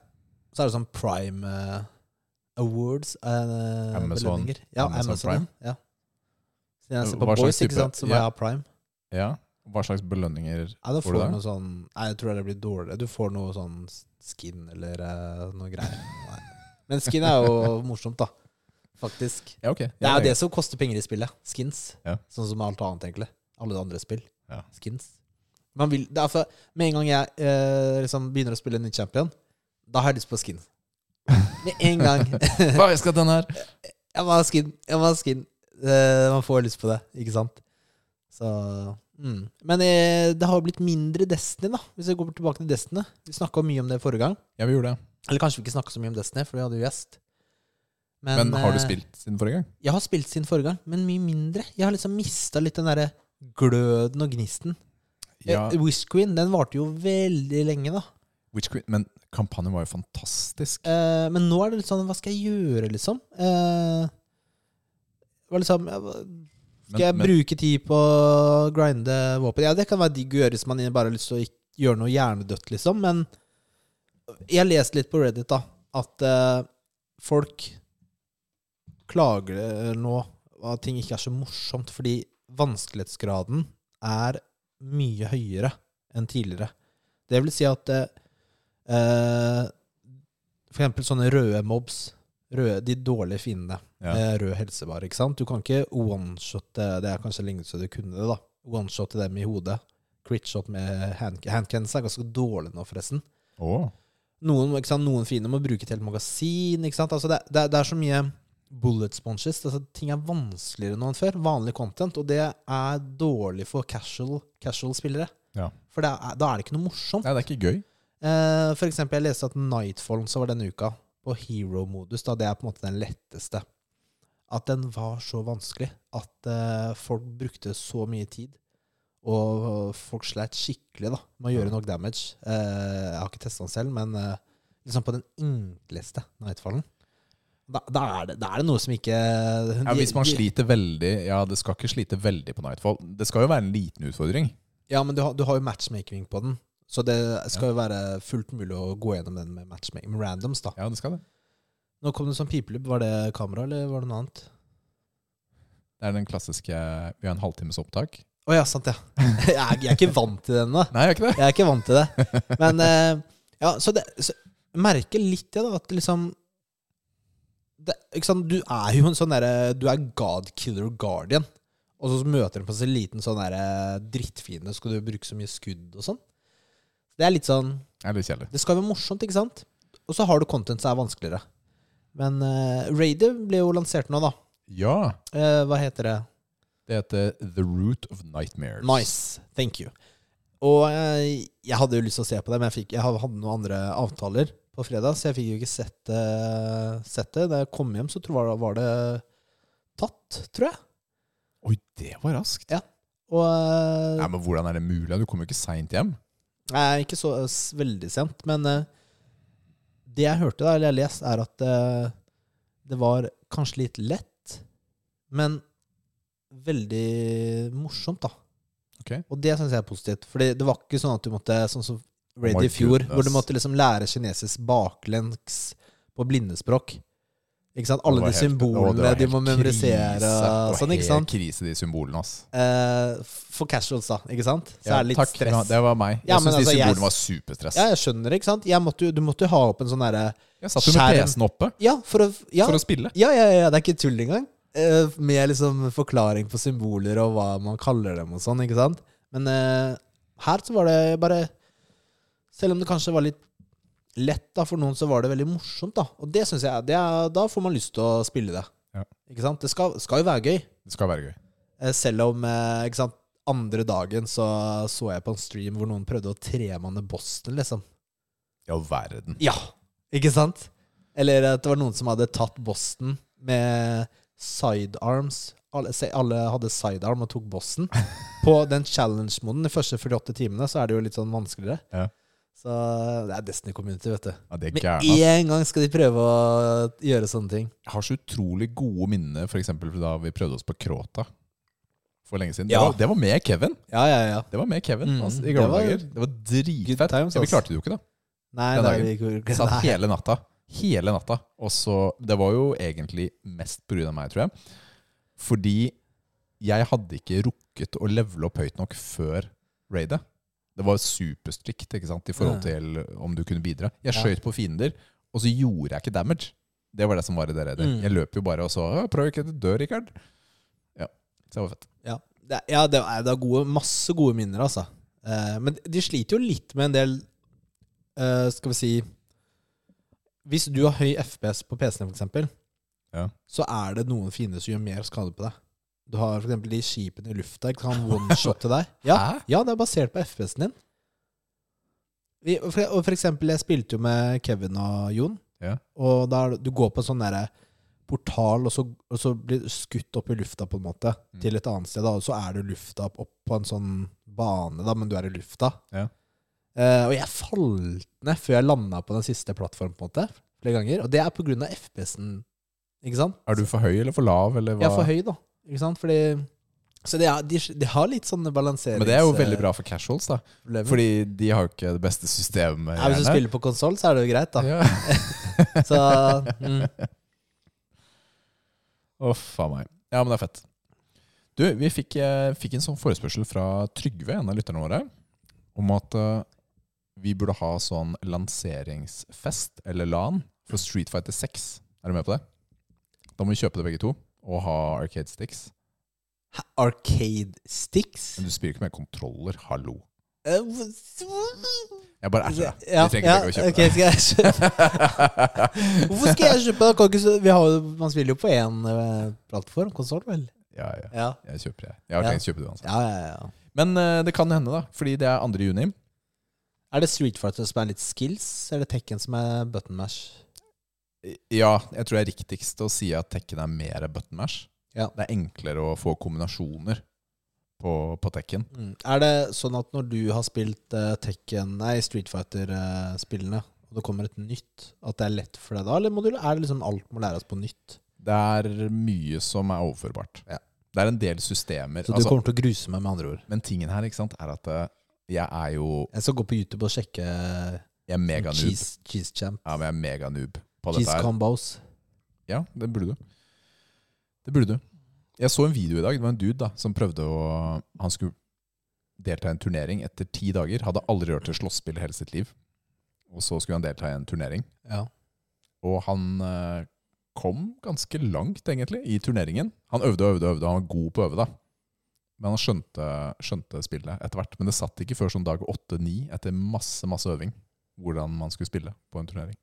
B: så er det sånn Prime eh, Awards. eh,
A: Amazon-
B: belønninger. Ja,
A: Amazon
B: Amazon,
A: Prime.
B: Ja. Så jeg ser på
A: Hva slags
B: Boys,
A: type?
B: ikke sant, som
A: Ja.
B: er Prime.
A: Ja. Hva slags belønninger
B: Nei, da
A: Får
B: får du
A: du det?
B: noe sånn Nei, jeg tror det blir dårligere. Du får noe sånn skin eller eh, noe greier. Nei. Men skin er jo morsomt, da. Faktisk.
A: Ja, ok.
B: Det er jo det som koster penger i spillet. Skins.
A: Ja.
B: Sånn som alt annet, egentlig. Alle andre spill.
A: Ja.
B: Skins. Man vil, det er for, med en gang jeg eh, liksom begynner å spille en ny champion, da har jeg lyst på skin. Med en gang.
A: Hva, jeg skal ha den her!
B: jeg må ha skin. Jeg må ha skin. Eh, man får lyst på det, ikke sant? Så mm. Men eh, det har jo blitt mindre Destiny, da, hvis vi går tilbake til Destiny. Vi snakka mye om det forrige gang.
A: Ja, vi gjorde det.
B: Eller kanskje vi ikke snakka så mye om Destiny, for vi hadde jo gjest.
A: Men, har du
B: eh,
A: spilt siden forrige gang?
B: jeg har spilt siden forrige gang, men mye mindre. Jeg har liksom mista litt den derre gløden og gnisten.
A: Ja,
B: Eh, Wish Queen den varte jo veldig lenge, da.
A: Witch Queen. Men kampanjen var jo fantastisk.
B: Eh, men nå er det litt sånn Hva skal jeg gjøre, liksom? Eh, det var liksom jeg, Skal jeg
A: Men- men-
B: bruke tid på å grinde våpen? Ja, det kan være digg å gjøre hvis man bare har lyst til å ikke gjøre noe hjernedødt, liksom. Men jeg har lest litt på Reddit da at eh, folk klager nå at ting ikke er så morsomt, fordi vanskelighetsgraden er mye høyere enn tidligere. Det vil si at eh, eh, for eksempel sånne røde mobs, røde, de dårlige fiendene,
A: Ja.
B: eh, rød helsebar, ikke sant? Du kan ikke one-shotte, det er kanskje lenge siden du kunne det da, one-shotte dem i hodet. Crit-shot med hand- handcannons er ganske dårlig nå forresten.
A: Åh.
B: Noen, ikke sant? Noen fiender må bruke et helt magasin, ikke sant? Altså det, det, det er så mye bullet sponges, altså ting er vanskeligere nå enn før, vanlig content, og det er dårlig for casual, casual spillere.
A: Ja.
B: For det er, da er det ikke noe morsomt.
A: Nei, det er ikke gøy.
B: Eh, for eksempel, jeg leste at Nightfall som var denne uka, på hero-modus, da det er på en måte den letteste, at den var så vanskelig at eh, folk brukte så mye tid, og folk sleit skikkelig da, med å gjøre nok damage. Eh, jeg har ikke testet den selv, men eh, liksom på den enkleste Nightfallen, da, da, er det, da er det noe som ikke... eh,
A: Ja, hvis man
B: de-
A: sliter veldig Ja, det skal ikke slite veldig på Nightfall. Det skal jo være en liten utfordring.
B: Ja, men du har, du har jo matchmaking på den, så det skal jo være fullt mulig å gå gjennom den med matchmaking, med randoms da.
A: Ja, det skal det.
B: Nå kom det sånn pipelypp. Var det kamera, eller var det noe annet?
A: Det er den klassiske Vi har en halvtimes opptak.
B: Å ja, sant, ja. Jeg er, jeg er ikke vant til det ennå.
A: Nei, jeg er ikke det?
B: Jeg er ikke vant til det. Men eh, ja, så, det, så jeg merker litt det, da, at liksom det, ikke sant? Du er jo en sånn derre Du er god killer guardian. Og så møter du på en sånn liten sånn derre drittfiende, så skal du bruke så mye skudd og sånn. Det er litt sånn
A: Det er litt kjedelig.
B: Det skal være morsomt, ikke sant? Og så har du content som er vanskeligere. Men uh, Raider ble jo lansert nå, da.
A: Ja.
B: Eh, hva heter det?
A: Det heter The Root of Nightmares.
B: Nice. Thank you. Og eh, jeg hadde jo lyst til å se på det, men jeg, fikk, jeg hadde noen andre avtaler på fredag, så jeg fikk jo ikke sett, eh, sett det. Da jeg kom hjem, så tror jeg, var det tatt, tror jeg.
A: Oi, det var raskt.
B: Og
A: Nei,
B: eh,
A: men Hvordan er det mulig? Du kom jo ikke seint hjem.
B: Nei, ikke så eh, s- veldig sent, men eh, det jeg hørte, da, eller jeg leste, er at eh, det var kanskje litt lett, Men veldig morsomt, da.
A: Ok.
B: Og det syns jeg er positivt. Fordi det var ikke sånn at du måtte Sånn som Raid
A: my
B: i fjor,
A: goodness.
B: hvor du måtte liksom lære kinesisk baklengs på blindespråk. Ikke sant? Alle
A: Det var
B: de
A: helt- Å, det
B: symbolene
A: var
B: de
A: helt
B: må memorisere.
A: krise.
B: og Sånn, ikke sant?
A: Det var helt krise, de symbolene. ass.
B: Eh, for casuals, da. Ikke sant? Så
A: Ja,
B: er det litt
A: takk,
B: stress.
A: Det var meg. Jeg
B: Ja, men
A: synes de
B: altså, jeg-
A: symbolene var superstress.
B: Ja, jeg skjønner, ikke sant? Jeg måtte, jo- du måtte jo ha opp en sånn derre
A: Jeg satt jo med
B: Skjerm.
A: PC-en oppe
B: Ja, for å, ja,
A: for å spille.
B: ja, ja, ja, det er ikke tull engang. Eh, med liksom forklaring på symboler og hva man kaller dem og sånn, ikke sant? Men eh, her så var det bare Selv om det kanskje var litt lett da for noen, så var det veldig morsomt, da. Og det syns jeg det er, Da får man lyst til å spille det.
A: Ja.
B: Ikke sant? Det skal, skal jo være gøy.
A: Det skal være gøy.
B: Eh, Selv om eh, ikke sant, andre dagen så, så jeg på en stream hvor noen prøvde å tremanne Boston, liksom.
A: I all verden.
B: Ja, ikke sant? Eller at det var noen som hadde tatt Boston med sidearms. Alle, se, alle hadde sidearm og tok Boston. På den challenge-moden, de første 48 timene, så er det jo litt sånn vanskeligere.
A: Ja.
B: Så det er Destiny Community, vet du.
A: Ja, det er
B: Med
A: gærent, ass.
B: en gang skal de prøve å gjøre sånne ting.
A: Jeg har så utrolig gode minner for eksempel da vi prøvde oss på Kråta for lenge siden.
B: Ja.
A: Det, var, det var med Kevin.
B: Ja, ja, ja.
A: Det var med Kevin
B: Mm,
A: altså, i
B: det
A: gamle
B: var
A: dager. Det var
B: good
A: dritfett.
B: times,
A: ja, vi
B: ass.
A: klarte det jo ikke, da.
B: Nei,
A: Den
B: nei,
A: dagen.
B: vi,
A: Vi satt
B: nei.
A: hele natta. Hele natta. Og så Det var jo egentlig mest pga. meg, tror jeg. Fordi jeg hadde ikke rukket å levele opp høyt nok før raidet. Det var superstrikt ikke sant, i forhold til om du kunne bidra. Jeg
B: Ja.
A: skjøt på fiender, og så gjorde jeg ikke damage. Det var det som var i det raidet.
B: Mm.
A: Jeg løp jo bare og så «Å, 'Prøv ikke å dø, Rikard'. Ja, så det var fett.
B: Ja, det, er- ja, det er, det er gode, masse gode minner, altså. Eh, men de sliter jo litt med en del eh, Skal vi si Hvis du har høy FPS på PC-en, for eksempel,
A: Ja.
B: så er det noen fiender som gjør mer skade på deg. Du har for eksempel de skipene i lufta. Ikke kan one-shotte deg. Ja,
A: Hæ?
B: ja, det er basert på FPS-en din. Vi, og, for, og for eksempel, jeg spilte jo med Kevin og Jon.
A: Ja.
B: Og da er, det- du går på en sånn derre portal, og så, og så blir du skutt opp i lufta på en måte,
A: Mm.
B: til et annet sted. Da, og så er du lufta opp, opp på en sånn bane, da, men du er i lufta.
A: Ja.
B: Eh, og jeg falt ned før jeg landa på den siste plattformen, på en måte, flere ganger. Og det er på grunn av FPS-en, ikke sant?
A: Er du for høy eller for lav? Eller hva?
B: Jeg er for høy, da. Ikke sant? Fordi Så det er, de, de har litt sånne balanserings...
A: Men det er jo veldig bra for casuals, da.
B: Problemer.
A: Fordi de har jo ikke det beste systemet.
B: Ja, hvis du
A: gjerne.
B: spiller på konsoll, så er det jo greit, da.
A: Ja.
B: Så, mm.
A: Å, faen meg. Ja, men det er fett. Du, vi fikk, eh, fikk en sånn forespørsel fra Trygve, en av lytterne våre, om at eh, vi burde ha sånn lanseringsfest, eller LAN, for Street Fighter 6. Er du med på det? Da må vi kjøpe det begge to, og ha arcade sticks.
B: Arcade sticks?
A: Men du spiller ikke med kontroller, hallo.
B: Eh,
A: Jeg bare erter deg.
B: Ja,
A: vi trenger
B: ja,
A: ikke å kjøpe
B: ok, skal jeg kjøpe? Hvorfor skal jeg kjøpe? Kan ikke, så- vi har, jo- man spiller jo på én eh, plattform, konsoll, vel?
A: det. Ja, ja.
B: Ja.
A: Jeg kjøper det. Jeg har
B: Ja.
A: tenkt å kjøpe det uansett.
B: Ja, ja, ja.
A: Men eh, det kan hende, da. Fordi det er 2. juni.
B: Er det Street Fighter som er litt skills, eller Tekken som er button mash?
A: Ja, jeg tror det er riktigst å si at tekken er mer button mash.
B: Ja.
A: Det er enklere å få kombinasjoner på, på tekken.
B: Mm. Er det sånn at når du har spilt eh, Tekken, nei, Street Fighter-spillene, og det kommer et nytt, at det er lett for deg da, eller må du, er det liksom alt må læres på nytt?
A: Det er mye som er overførbart.
B: Ja.
A: Det er en del systemer.
B: Så du
A: Altså,
B: kommer til å gruse meg, med andre ord?
A: men tingen her ikke sant, er at eh, jeg er jo
B: Jeg skal gå på YouTube og sjekke
A: jeg er mega noob.
B: cheese, cheese champ.
A: Ja, men jeg er mega noob på
B: Cheese
A: dette her.
B: combos.
A: Ja, det burde du. Det burde du. Jeg så en video i dag. Det var en dude da, som prøvde å Han skulle delta i en turnering etter ti dager. Hadde aldri rørt et slåsspill i hele sitt liv. Og så skulle han delta i en turnering.
B: Ja.
A: Og han eh, kom ganske langt, egentlig, i turneringen. Han øvde og øvde og øvde, og han var god på å øve, da. Men han skjønte, skjønte spillet etter hvert. Men det satt ikke før sånn dag åtte-ni, etter masse, masse øving, hvordan man skulle spille på en turnering.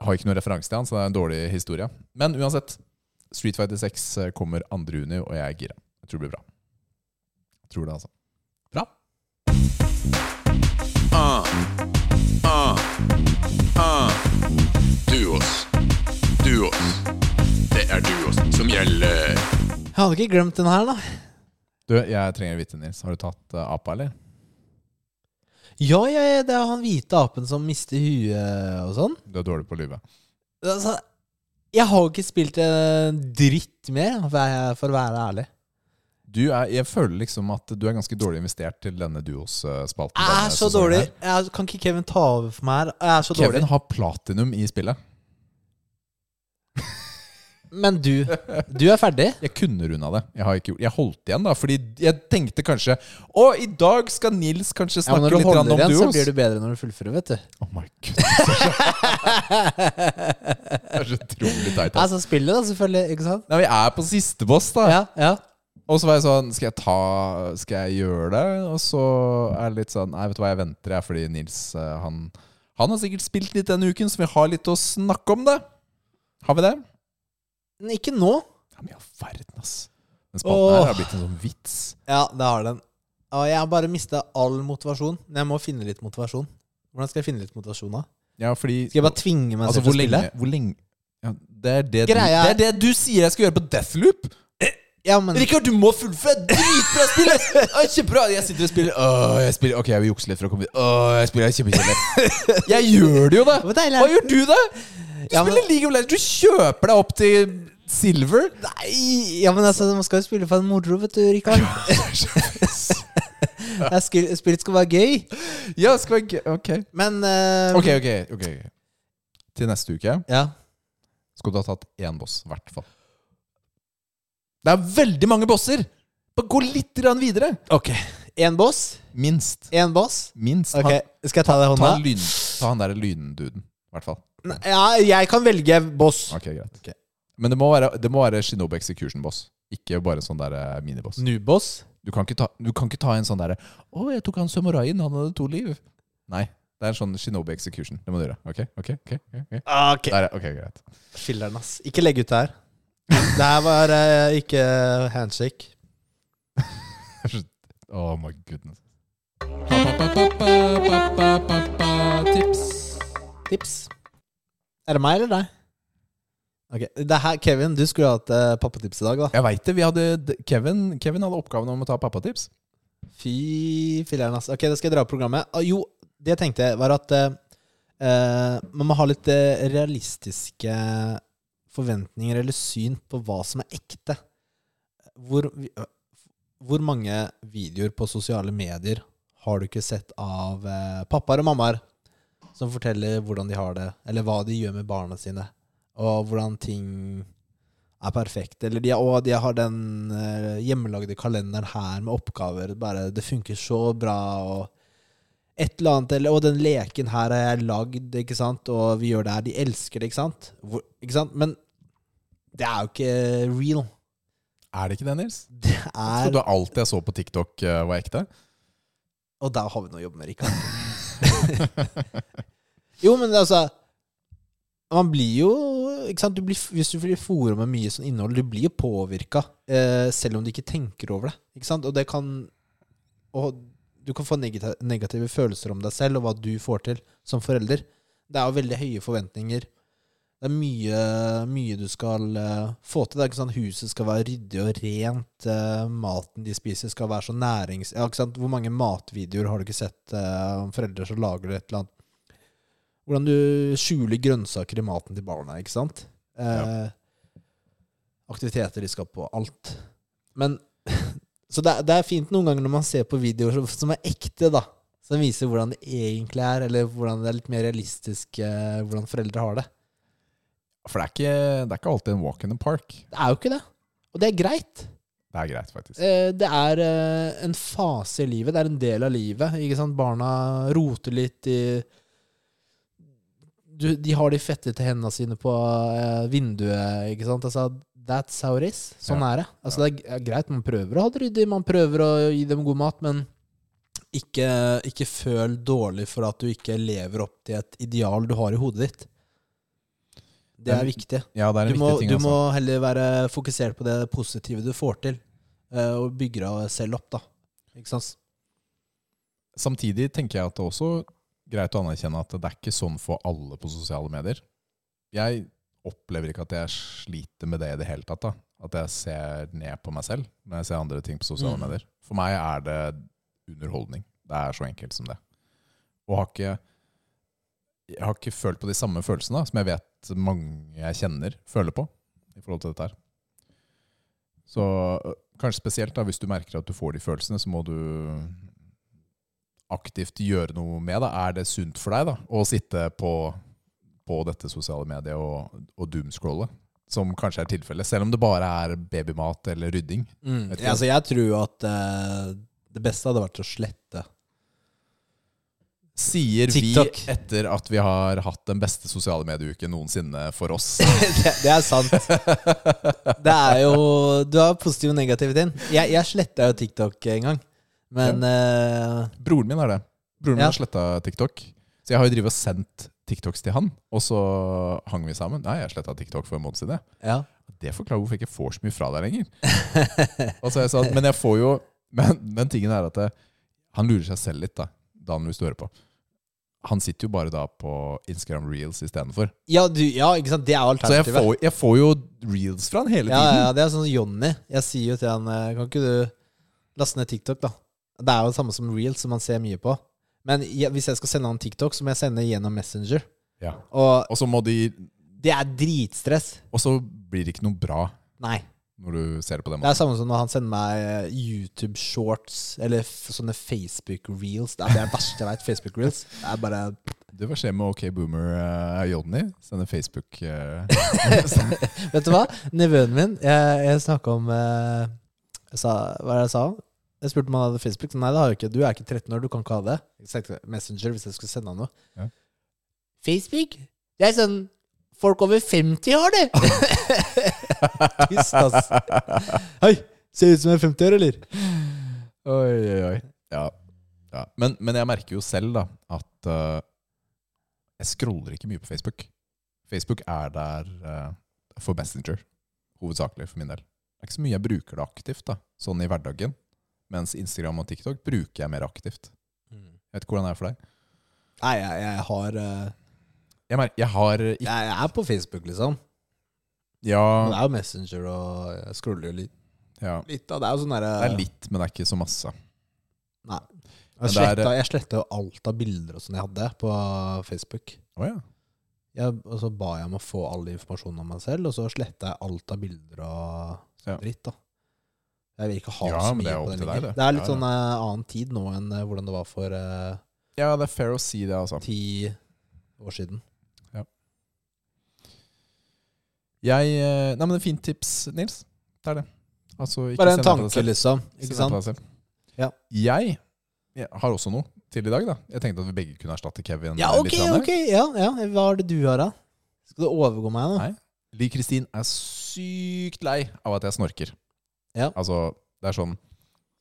A: Jeg har ikke noen referanse til han, så det er en dårlig historie. Men uansett, Street Fighter 6 kommer 2. juni, og jeg er gira. Jeg tror det blir bra. Jeg tror det, altså. Bra.
F: Duos. Duos. Det er duos som gjelder.
B: Jeg hadde ikke glemt den her, da.
A: Du, jeg trenger å vite, Nils. Har du tatt eh, apa, eller?
B: Ja, ja, ja, det er han hvite apen som mister huet og sånn.
A: Du er dårlig på å lyve.
B: Altså, Jeg har jo ikke spilt en dritt med, for jeg- for å være ærlig.
A: Du er, jeg føler liksom at du er ganske dårlig investert til denne Duos-spalten.
B: Jeg er så dårlig. Jeg, kan ikke Kevin ta over for meg her? Jeg er så
A: Kevin
B: dårlig.
A: har platinum i spillet.
B: Men du, du er ferdig.
A: Jeg kunne runda det. Jeg, har ikke gjort, jeg holdt igjen, da. Fordi jeg tenkte kanskje Å, i dag skal Nils kanskje
B: Ja, men
A: snakke
B: når du
A: litt grann
B: holder
A: om
B: igjen, så
A: duos.
B: blir du bedre når du fullfører, vet du.
A: Oh my God, det er så- det er så utrolig teit. ass.
B: Altså spillet, da, selvfølgelig. Ikke sant?
A: Nei, Vi er på siste boss, da.
B: Ja, ja.
A: Og så var jeg sånn Skal jeg ta Skal jeg gjøre det? Og så er det litt sånn Nei, vet du hva, jeg venter, jeg. Fordi Nils, eh, han Han har sikkert spilt litt denne uken, så vi har litt å snakke om, det. Har vi det?
B: Men ikke nå.
A: Ja, men i all verden, ass. Den spalten her
B: Åh.
A: har blitt en sånn vits.
B: Ja, det har den. Ja, jeg har bare mista all motivasjon. Men jeg må finne litt motivasjon. Hvordan skal jeg finne litt motivasjon da?
A: Ja, fordi
B: Skal jeg bare tvinge meg
A: Altså,
B: selv
A: hvor
B: til å spille?
A: lenge, hvor lenge ja, det, er det, du, det
B: Greia er-
A: er det du sier jeg skal gjøre på Deathloop!
B: Ja, men
A: Rikard, du må fullføre! Dritbra spill! ass! Ja, Kjempebra! Jeg sitter og spiller Åh, jeg spiller Ok, jeg vil jukse litt for å komme dit. Åh, jeg spiller kjempekjedelig. Jeg gjør det jo, da!
B: Hvor deilig er
A: Hva
B: det?
A: gjør du, da? Du
B: Ja, men-
A: spiller League of Legends. Du kjøper deg opp til silver.
B: Nei, ja, men altså, man skal jo spille for en moro, vet du, Rikard. Det er skil- Spillet skal være gøy.
A: Ja, skal jeg Ok,
B: Men eh,
A: ok. ok, ok Til neste uke
B: Ja.
A: skulle du ha tatt én boss, i hvert fall. Det er veldig mange bosser! Bare gå litt grann videre.
B: Ok. Én boss,
A: Minst.
B: én boss.
A: Minst.
B: Ok, Skal jeg ta deg i
A: Han, ta,
B: hånda?
A: han lyn, ta han derre lynduden, i hvert fall.
B: Nei, Ja, jeg kan velge boss.
A: Ok, greit.
B: Ok.
A: Men det må være, det må være Shinobi Execution-boss. Ikke bare sånn der eh, miniboss.
B: Nuboss?
A: Du kan ikke ta, du kan ikke ta en sånn derre 'Å, jeg tok han samuraien, han hadde to liv'. Nei. Det er en sånn Shinobi Execution. Det må du gjøre. Ok, ok, ok. ok, ok.
B: Ah, Ok.
A: Der, er- ok, greit.
B: Filler'n, ass. Ikke legg ut det her. Det her var eh, ikke handshake.
A: Oh my goodness.
B: Tips. Er det meg eller deg? Ok, det her, Kevin, du skulle hatt eh, pappatips i dag, da.
A: Jeg veit det. Vi hadde, d- Kevin, Kevin hadde oppgaven om å ta pappatips.
B: Fy filler'n, ass. Ok, da skal jeg dra opp programmet. Ah, jo, det jeg tenkte, var at eh, eh, man må ha litt eh, realistiske forventninger eller syn på hva som er ekte. Hvor, vi- øh, hvor mange videoer på sosiale medier har du ikke sett av eh, pappaer og mammaer som forteller hvordan de har det, eller hva de gjør med barna sine, og hvordan ting er perfekt, eller de, og de har den eh, hjemmelagde kalenderen her med oppgaver, bare det funker så bra, og et eller annet, eller, og den leken her har jeg lagd, ikke sant, og vi gjør det her, de elsker det, ikke sant, Hvor, ikke sant, men det er jo ikke real.
A: Er det ikke det, Nils?
B: Det
A: Tror
B: er
A: du alt jeg så på TikTok, eh, var ekte?
B: Og der har vi noe å jobbe med, Rikard. jo, men altså Man blir jo ikke sant? Du blir, Hvis du blir fôra med mye sånn innhold, du blir jo påvirka, eh, selv om du ikke tenker over det. Ikke sant? Og det kan Og du kan få negati- negative følelser om deg selv og hva du får til som forelder. Det er jo veldig høye forventninger. Det er mye, mye du skal eh, få til. Det er ikke sånn Huset skal være ryddig og rent. eh, maten de spiser, skal være så nærings... Ja, ikke sant? Hvor mange matvideoer har du ikke sett eh, om foreldre som lager et eller annet? Hvordan du skjuler grønnsaker i maten til barna, ikke sant? Eh, Aktiviteter de skal på. Alt. Men Så det, er- det er fint noen ganger når man ser på videoer som- som er ekte, da. Som viser hvordan det egentlig er, eller hvordan det er litt mer realistisk eh, hvordan foreldre har det.
A: For det er ikke, det er ikke alltid en walk in the park.
B: Det er jo ikke det. Og det er greit.
A: Det er greit, faktisk.
B: Eh, Det er eh, en fase i livet. Det er en del av livet. Ikke sant? Barna roter litt i du, De har de fettete hendene sine på eh, vinduet, ikke sant. Altså, that's how it is. Sånn
A: Ja.
B: er det. Altså, det er greit, man prøver å ha det ryddig, man prøver å gi dem god mat, men ikke, ikke føl dårlig for at du ikke lever opp til et ideal du har i hodet ditt. Det er
A: Men-
B: viktig
A: Ja, det er en
B: du må,
A: viktig ting.
B: du
A: altså.
B: må heller være fokusert på det positive du får til, eh, og bygge deg selv opp, da. Ikke sant?
A: Samtidig tenker jeg at det er også greit å anerkjenne at det er ikke sånn for alle på sosiale medier. Jeg opplever ikke at jeg sliter med det i det hele tatt. da. At jeg ser ned på meg selv når jeg ser andre ting på sosiale
B: Mm.
A: medier. For meg er det underholdning. Det er så enkelt som det. Og har ikke jeg har ikke følt på de samme følelsene da, som jeg vet mange jeg kjenner, føler på i forhold til dette her. Så øh, kanskje spesielt da, hvis du merker at du får de følelsene, så må du aktivt gjøre noe med det. Er det sunt for deg da, å sitte på, på dette sosiale mediet og, og doomscrolle? Som kanskje er tilfellet, selv om det bare er babymat eller rydding.
B: Mm.
A: Vet ikke.
B: Ja, altså, jeg tror jo at eh, det beste hadde vært å slette.
A: Sier
B: TikTok.
A: vi etter at vi har hatt den beste sosiale medieuken noensinne for oss.
B: Det, det er sant. Det er jo Du har positiv og negativ din. Jeg, jeg sletta jo TikTok en gang. Men eh,
A: Broren min har det. Broren min
B: Ja.
A: har sletta TikTok. Så jeg har jo drivet og sendt TikToks til han, og så hang vi sammen. Nei, jeg sletta TikTok for en måned siden. jeg.
B: ja.
A: Det forklarer hvorfor jeg ikke får så mye fra deg lenger. Og så er jeg sånn, men jeg får jo Men, men tingen er at det, han lurer seg selv litt, da. Dan, hvis du hører på. Han sitter jo bare da på Instagram Reels istedenfor.
B: Ja, du, ja, ikke sant? Det er jo
A: Så jeg
B: alternativet.
A: får, jeg får jo reels fra han hele
B: ja,
A: tiden.
B: ja, det er sånn som Johnny. Jeg sier jo til han eh, Kan ikke du laste ned TikTok, da? Det er jo det samme som Reels, som man ser mye på. Men jeg, hvis jeg skal sende han TikTok, så må jeg sende gjennom Messenger.
A: Ja.
B: Og
A: Og så må de
B: det er dritstress.
A: Og så blir det ikke noe bra
B: Nei.
A: når du ser det på den
B: Det
A: måten.
B: er samme som når han sender meg eh, YouTube-shorts eller f sånne Facebook-reels. Det er det verste jeg vet. Facebook-reels. Det er bare
A: Det får skje med OK Boomer eh, Johnny. Sender Facebook eh,
B: Vet du hva? Nevøen min Jeg, jeg snakka om eh, jeg sa, Hva er det jeg sa? Jeg spurte om han hadde Facebook. Så Nei, det har jeg ikke. Du er ikke 13 år, du kan ikke ha det. Jeg sendte Messenger hvis jeg skulle sende han noe.
A: Ja.
B: Facebook? Det er sånn Folk over 50 har det! Tyst, ass. Hei! Ser ut som jeg er 50 år, eller?
A: Oi, oi, oi. Ja. ja. Men, men jeg merker jo selv da at eh, jeg scroller ikke mye på Facebook. Facebook er der eh, for Messenger, hovedsakelig for min del. Det er ikke så mye jeg bruker det aktivt, da, sånn i hverdagen. Mens Instagram og TikTok bruker jeg mer aktivt. Jeg vet ikke hvordan det er for deg.
B: Mm. Nei, jeg, jeg har eh,
A: Jeg, mer jeg har
B: jeg,
A: ikke
B: jeg er på Facebook, liksom.
A: Ja.
B: Men Det er jo Messenger, og jeg scroller jo litt.
A: ja.
B: litt da. Det er jo sånn derre
A: Det er litt, men det er ikke så masse.
B: Nei. Jeg
A: Men det er-
B: sletta, jeg sletta jo alt av bilder og sånn jeg hadde på Facebook.
A: Å ja.
B: Jeg, og så ba jeg om å få all informasjon om meg selv, og så sletta jeg alt av bilder og sånn
A: Ja.
B: dritt. da. Jeg vil ikke ha
A: Ja,
B: så
A: men det
B: mye
A: er opp
B: på den
A: til deg,
B: lenger.
A: det.
B: Det er litt
A: Ja, ja.
B: sånn eh, annen tid nå enn eh, hvordan det var for eh,
A: Ja, det er fair å si det, altså.
B: ti år siden.
A: Jeg, eh, nei, men det er fint tips, Nils. Det er det. Altså, ikke
B: Bare en
A: send det til deg
B: tanke,
A: selv.
B: liksom.
A: Send
B: Ikke
A: det til
B: sant?
A: deg selv.
B: Ja.
A: Jeg, jeg har også noe til i dag, da. Jeg tenkte at vi begge kunne erstatte Kevin.
B: Ja,
A: eh,
B: ok,
A: grann her.
B: ok. Ja, ja. Hva er det du har, da? Skal du overgå meg nå?
A: Nei. Li Kristin er sykt lei av at jeg snorker.
B: Ja.
A: Altså, det er sånn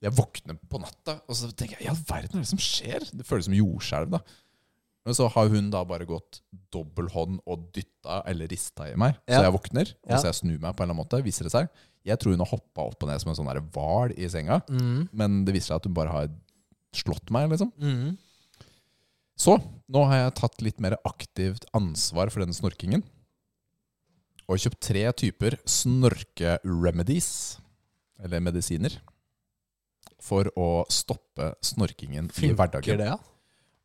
A: Jeg våkner på natta, og så tenker jeg Ja, verden, hva er det som skjer? Det føles som jordskjelv, da. Men så har hun da bare gått dobbel hånd og dytta eller rista i meg.
B: Ja.
A: Så jeg våkner, og
B: Ja.
A: så jeg snur meg på en eller annen måte, viser det seg. Jeg tror hun har hoppa opp og ned som en sånn der hval i senga,
B: Mm.
A: men det viser seg at hun bare har slått meg, liksom.
B: Mm.
A: Så nå har jeg tatt litt mer aktivt ansvar for denne snorkingen. Og kjøpt tre typer snorke-remedies, eller medisiner, for å stoppe snorkingen i
B: Funker
A: hverdagen.
B: det, ja?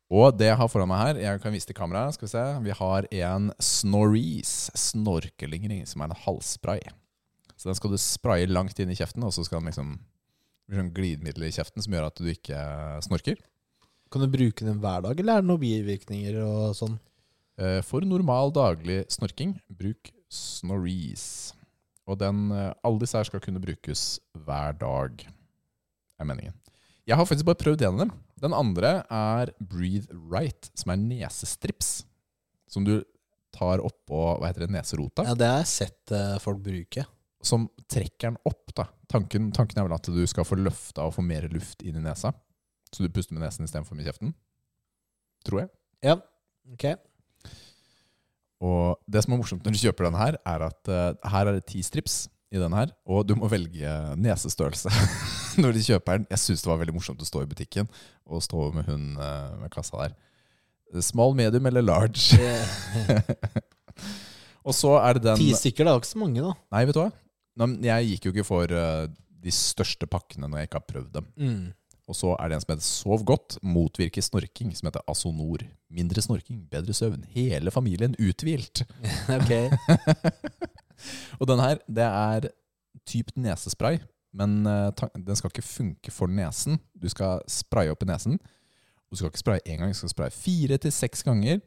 A: Og det jeg har foran meg her, jeg kan vise til kameraet, skal vi se. Vi har en Snorrees snorkelingring, som er en halsspray. Så den skal du spraye langt inn i kjeften, og så skal den liksom det blir sånn glidemiddel i kjeften som gjør at du ikke snorker.
B: Kan du bruke den hver dag, eller er det noen bivirkninger og sånn?
A: Eh, For normal daglig snorking, bruk Snorrees. Og den, eh, alle disse her skal kunne brukes hver dag, er meningen. Jeg har faktisk bare prøvd en av dem. Den andre er Breathe Right, som er nesestrips. Som du tar oppå hva heter det, neserota.
B: Ja, det har jeg sett eh, folk bruke.
A: Som trekker den opp. da. Tanken, tanken er vel at du skal få løfta og få mer luft inn i nesa. Så du puster med nesen istedenfor med kjeften. Tror jeg.
B: Ja, ok.
A: Og det som er morsomt når du kjøper den her, er at eh, her er det ti strips i den her, og du må velge nesestørrelse når du kjøper den. Jeg syns det var veldig morsomt å stå i butikken og stå med hun eh, ved kassa der. Small, medium eller large? og så er det den
B: Ti stykker, det var ikke så mange, da.
A: Nei, vet du hva? Nei, men Jeg gikk jo ikke for eh, de største pakkene når jeg ikke har prøvd dem. Og så er det en som heter Sov godt, motvirke snorking, som heter Asonor. Mindre snorking, bedre søvn. Hele familien uthvilt.
B: ok.
A: Og den her, det er typ nesespray, men eh, ta- den skal ikke funke for nesen. Du skal spraye opp i nesen. Du skal ikke spraye én gang, du skal spraye fire til seks ganger,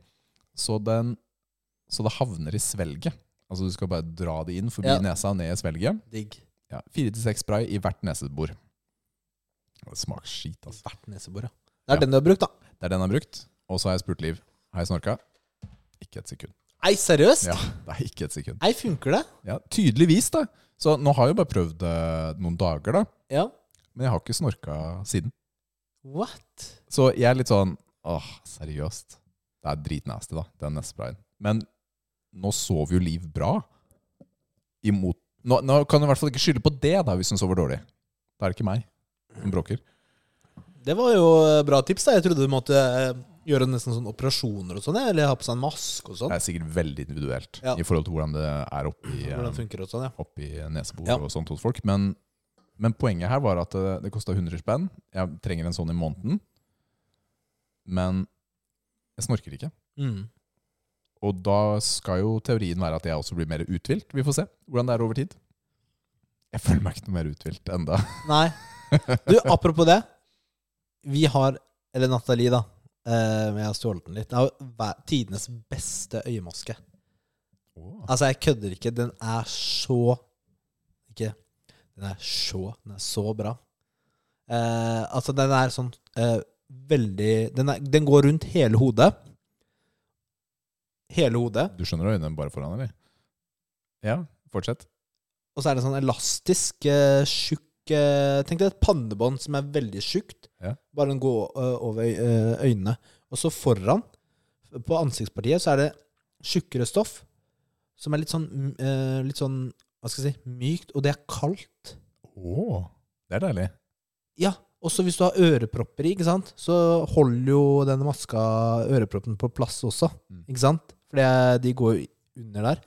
A: så, den, så det havner i svelget. Altså du skal bare dra det inn forbi
B: Ja.
A: nesa og ned i svelget.
B: Digg.
A: Ja, fire til seks spray i hvert nesebor. Det smaker skit, altså.
B: Hvert nesebor, ja. Det er
A: Ja.
B: den du har brukt, da.
A: Det er den jeg har brukt. Og så har jeg spurt Liv. Har jeg snorka? Ikke et sekund.
B: Nei, seriøst?
A: Ja, det er ikke et sekund.
B: Nei, funker det?
A: Ja, tydeligvis, da. Så nå har jeg jo bare prøvd det noen dager, da.
B: Ja.
A: Men jeg har ikke snorka siden.
B: What?
A: Så jeg er litt sånn Åh, seriøst. Det er dritnasty, da, den nesesprayen. Men nå sover jo Liv bra. Imot Nå, nå kan du i hvert fall ikke skylde på det, da, hvis hun sover dårlig. Da er det ikke meg som bråker.
B: Det var jo eh, bra tips, da. Jeg trodde du måtte eh, gjøre nesten sånn operasjoner og sånn, ja, eller ha på seg en maske og sånn.
A: Det er sikkert veldig individuelt
B: Ja.
A: i forhold til hvordan det er oppi, eh,
B: Hvordan funker det og sånn, ja.
A: oppi nesebor
B: Ja.
A: og sånt hos folk. Men, men poenget her var at det, det kosta 100 spenn. Jeg trenger en sånn i måneden. Men jeg snorker ikke.
B: Mm.
A: Og da skal jo teorien være at jeg også blir mer uthvilt. Vi får se hvordan det er over tid. Jeg føler meg ikke noe mer uthvilt enda.
B: Nei. Du, apropos det. Vi har Eller Nathalie, da. Eh, men jeg har stjålet den litt. Det er jo ver- tidenes beste øyemaske. Altså, jeg kødder ikke. Den er så Ikke Den er så Den er så bra. Eh, altså, den er sånn eh, veldig den, er, den går rundt hele hodet. Hele hodet.
A: Du skjønner øynene bare foran, eller? Ja, fortsett.
B: Og så er det sånn elastisk, eh, tjukk eh, Tenk deg et pannebånd som er veldig tjukt.
A: Ja.
B: Bare den går eh, over øy- eh, øynene. Og så foran, på ansiktspartiet, så er det tjukkere stoff som er litt sånn, mm, eh, litt sånn Hva skal jeg si mykt, og det er kaldt.
A: Åh, det er deilig.
B: Ja. Også hvis du har ørepropper i, ikke sant? så holder jo denne maska øreproppen på plass også.
A: Mm.
B: Ikke sant? For det- de går jo under der.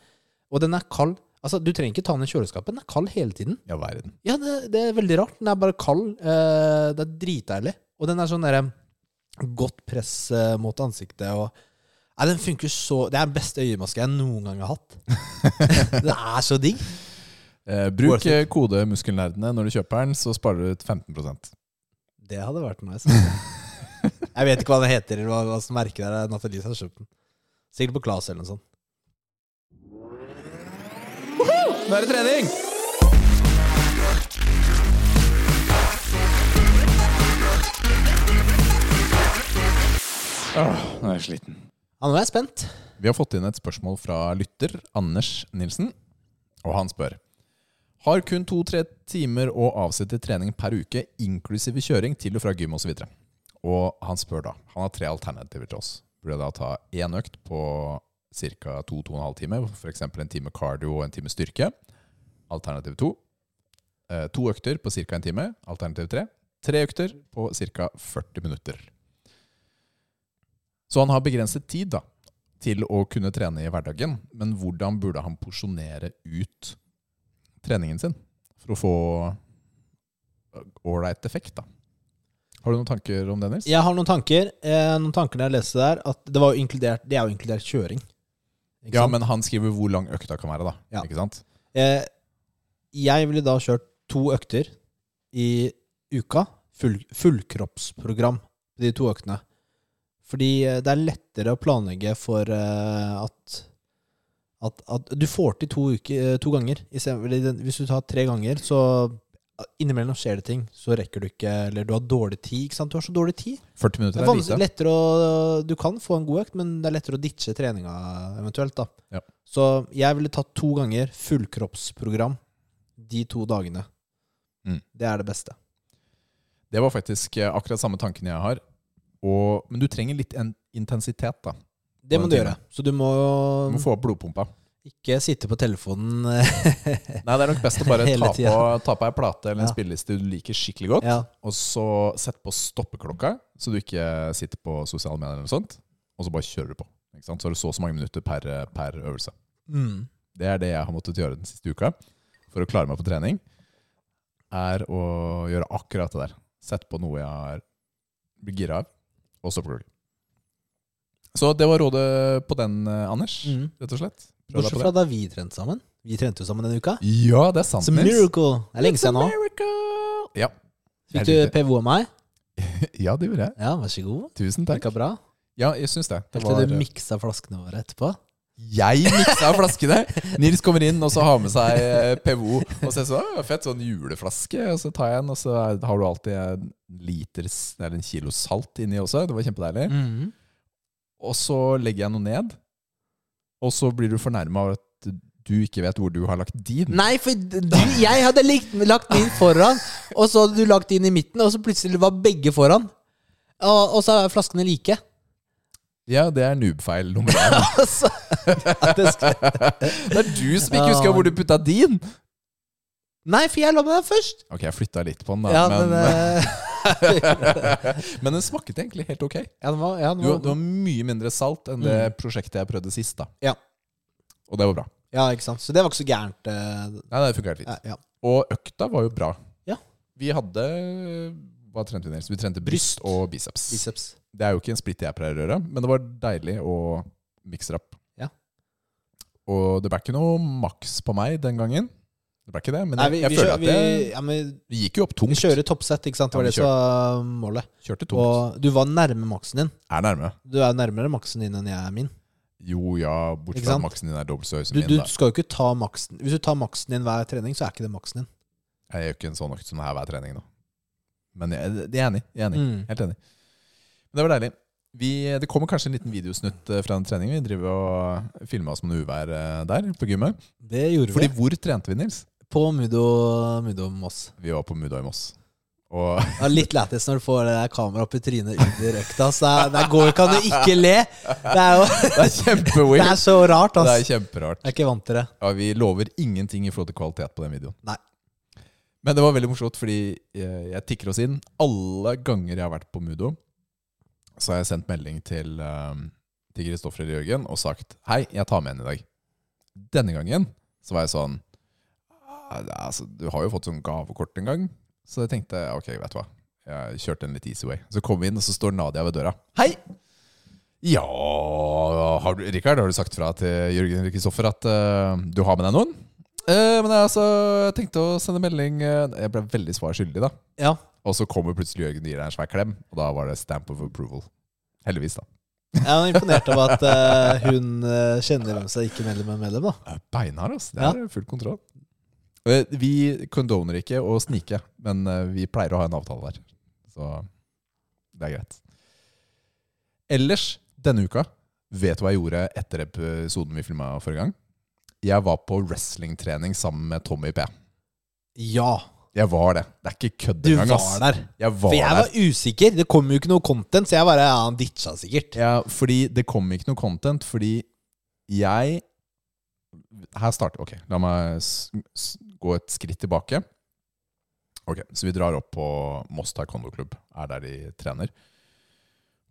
B: Og den er kald. Altså, Du trenger ikke ta den i kjøleskapet. Den er kald hele tiden.
A: Ja, verden.
B: Ja, det, det er veldig rart. Den er bare kald. Eh, det er dritdeilig. Og den er sånn derre godt press eh, mot ansiktet og Nei, den funker så Det er den beste øyemaska jeg noen gang har hatt. den er så digg.
A: Eh, bruk
B: Worth it.
A: eh, kode muskelnerdene når du kjøper den, så sparer du ut 15
B: Det hadde vært nice. altså. Jeg vet ikke hva den heter, eller hva, hva som merker det er. Nathalie som har kjøpt den. Sikkert på Klas eller noe sånt.
A: Nå er det trening!
F: Nå er jeg sliten.
B: Ja, nå er jeg spent.
A: Vi har fått inn et spørsmål fra lytter Anders Nilsen, og han spør Har kun to-tre timer å avsette til trening per uke, inklusive kjøring til og fra gym osv. Og han spør da Han har tre alternativer til oss. Burde jeg da ta én økt på ca. to-to-en-halv time, f.eks. en time cardio og en time styrke? Alternativ to. eh, To økter på ca. en time. Alternativ tre. Tre økter på ca. 40 minutter. Så han har begrenset tid, da til å kunne trene i hverdagen, men hvordan burde han porsjonere ut treningen sin for å få eh, ålreit effekt, da? Har du noen tanker om det, Nils?
B: Jeg har noen tanker. Eh, noen tanker når jeg leste der, at det, var jo inkludert, det er jo inkludert kjøring. Ikke
A: Ja,
B: sant?
A: men han skriver hvor lang økta kan være, da.
B: Ja.
A: Ikke sant?
B: Eh, jeg ville da kjørt to økter i uka. Full, fullkroppsprogram på de to øktene. Fordi eh, det er lettere å planlegge for eh, at, at, at du får til to, uker, eh, to ganger. I stedet- fordi den- Hvis du tar tre ganger, så innimellom skjer det ting. Så rekker du ikke, eller du har dårlig tid. ikke sant? Du har så dårlig tid.
A: 40
B: Det
A: minutter
B: er
A: er
B: vanskelig-
A: lite.
B: lettere å Du kan få en god økt, men det er lettere å ditche treninga eventuelt. da
A: Ja.
B: Så jeg ville tatt to ganger fullkroppsprogram de to dagene.
A: Mm.
B: Det er det beste.
A: Det var faktisk eh, akkurat samme tanken jeg har. Og, men du trenger litt en intensitet, da.
B: Det
A: Og
B: må
A: en
B: du
A: time.
B: gjøre. Så du
A: Du
B: må,
A: må få opp blodpumpa.
B: ikke sitte på telefonen.
A: Nei, det er nok best å bare
B: Eh, Hele
A: ta på,
B: tida.
A: ta på ei plate eller en
B: Ja.
A: spilleliste du liker skikkelig godt.
B: ja.
A: Og så sett på stoppeklokka, så du ikke sitter på sosiale medier eller noe sånt. Og så bare kjører du på. Ikke sant? Så har du så og så mange minutter per, eh, per øvelse.
B: mm.
A: Det er det jeg har måttet gjøre den siste uka for å klare meg på trening. Er å gjøre akkurat det der. Sett på noe jeg har blir gira av, og så plugger. Så det var rådet på den, eh, Anders,
B: Mm.
A: rett og slett. Prøv deg
B: Bortsett
A: på
B: fra
A: det.
B: da vi trente sammen. Vi trente jo sammen denne uka.
A: Ja, det er sant,
B: It's a
A: Nils.
B: miracle! Det er lenge
A: It's a
B: siden nå.
A: miracle! Ja.
B: Fikk du
A: Jeg likte-
B: PVO av meg?
A: Ja, det gjorde jeg.
B: Ja, vær så god.
A: Tusen takk.
B: Funka bra.
A: Ja, jeg syns det. det
B: Helt til
A: var-
B: du miksa flaskene våre etterpå.
A: Jeg miksa flaskene. Nils kommer inn og så har med seg eh, PVO. Og så er jeg så, «Å, fett, sånn juleflaske. Og så tar jeg en, og så er- har du alltid en liter s- eller en kilo salt inni også. Det var kjempedeilig.
B: Mm.
A: Og så legger jeg noe ned, og så blir du fornærma av at du ikke vet hvor du har lagt din.
B: Nei, for du, jeg hadde likt, lagt din foran, og så hadde du lagt din i midten, og så plutselig var begge foran. Og, og så er flaskene like.
A: Ja, det er noob-feil nummer én.
B: Altså, det skal-
A: Det er du som ikke husker hvor du putta din!
B: Nei, for jeg la meg der først.
A: Ok, jeg flytta litt på den, da.
B: Ja,
A: men,
B: men, eh,
A: men den smakte egentlig helt ok.
B: ja, den var, ja, den
A: Du,
B: var,
A: det var mye mindre salt enn det prosjektet jeg prøvde sist. da
B: Mm. Ja.
A: Og det var bra.
B: ja, ikke sant. Så det var ikke så gærent. eh,
A: Nei, det funka helt fint.
B: ja, ja.
A: Og økta var jo bra.
B: Ja.
A: Vi hadde Hva trente vi, Nils? Vi trente
B: Bryst.
A: bryst, og biceps.
B: Biceps.
A: Det er jo ikke en splitt jeg pleier å gjøre, men det var deilig å mikse det opp.
B: Ja.
A: Og det ble ikke noe maks på meg den gangen. Det ble ikke det, men
B: Nei,
A: jeg,
B: vi,
A: jeg
B: vi,
A: føler
B: kjører,
A: at
B: vi,
A: jeg,
B: ja, men
A: vi gikk jo opp
B: vi
A: tungt.
B: kjører toppsett, ikke sant. Det var
A: Ja, vi
B: det som var målet.
A: Kjørte tungt.
B: Og du var nærme maksen din.
A: Er nærme.
B: Du er jo nærmere maksen din enn jeg er min.
A: Jo ja, bortsett
B: Ikke
A: fra
B: sant?
A: at maksen din er dobbelt så høy som
B: Du, du
A: min. Da.
B: skal jo ikke ta maksen Hvis du tar maksen din hver trening, så er ikke det maksen din.
A: Jeg gjør ikke en sånn økt som det her hver trening nå. Men jeg, jeg er enig. Jeg er enig.
B: Mm.
A: Helt enig. Men det var deilig. Vi, det kommer kanskje en liten videosnutt eh, fra den treningen. Vi driver og filma oss med noe uvær eh, der på gymmet.
B: Det gjorde
A: Fordi
B: vi.
A: hvor trente vi, Nils?
B: På Mudo, Mudo Moss.
A: Vi var på Muda i Moss. Og
B: Det er litt lættis når du får det der kameraet opp i trynet under økta. Så der, der går kan du ikke le! Det er jo
A: det er
B: Det
A: kjempeweird!
B: er så rart,
A: Det
B: ass.
A: er kjemperart.
B: Jeg er ikke vant til det.
A: Ja, vi lover ingenting i forhold til kvalitet på den videoen.
B: Nei.
A: Men det var veldig morsomt, fordi jeg, jeg tikker oss inn. Alle ganger jeg har vært på Mudo, så har jeg sendt melding til eh, til Kristoffer eller Jørgen og sagt Hei, jeg tar med en i dag. Denne gangen så var jeg sånn «Ah, det er altså, Du har jo fått sånn gavekort en gang. Så jeg tenkte ok, vet du hva. Jeg kjørte en litt easy way. Så kom vi inn, og så står Nadia ved døra. Hei! Ja har du, Rikard, har du sagt fra til Jørgen eller Kristoffer at eh, du har med deg noen? Eh, men jeg altså, jeg tenkte å sende melding eh, Jeg ble veldig svar skyldig, da.
B: Ja.
A: Og så kommer plutselig Jørgen og gir deg en svær klem, og da var det stamp of approval. Heldigvis, da.
B: Jeg er imponert over at eh, hun eh, kjenner hvem som er ikke medlem av medlem, da.
A: Det er Beinhard, altså. Det
B: Ja.
A: er full kontroll. Eh, Vi condoner ikke å snike, men eh, vi pleier å ha en avtale der. Så det er greit. Ellers, denne uka, vet du hva jeg gjorde etter episoden vi filma forrige gang? Jeg var på wrestlingtrening sammen med Tommy P.
B: Ja,
A: Jeg var det. Det er ikke kødd
B: du
A: engang.
B: var
A: ass.
B: der.
A: Jeg var
B: For jeg
A: der.
B: var usikker. Det kom jo ikke noe content, så jeg bare ja, han ditcha sikkert.
A: Ja, fordi det kom ikke noe content, fordi jeg Her starter Ok, la meg s s gå et skritt tilbake. Ok, Så vi drar opp på Moss Taekwondo Klubb, er der de trener.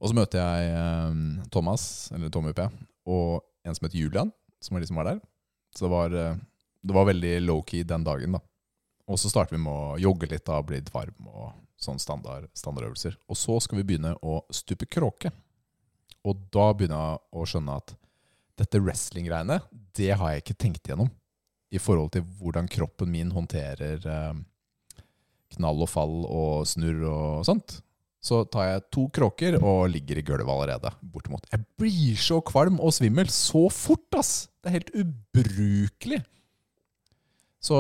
A: Og så møter jeg eh, Thomas, eller Tommy P, og en som heter Julian, som var de som var der. Så det var, eh, det var veldig low-key den dagen, da. Og så starter vi med å jogge litt, da, bli litt varm og sånn standard, standardøvelser. Og så skal vi begynne å stupe kråke. Og da begynner jeg å skjønne at dette wrestling-greiene, det har jeg ikke tenkt gjennom. I forhold til hvordan kroppen min håndterer eh, knall og fall og snurr og sånt. Så tar jeg to kråker og ligger i gulvet allerede. Bortimot. Jeg blir så kvalm og svimmel så fort, ass! Det er helt ubrukelig. Så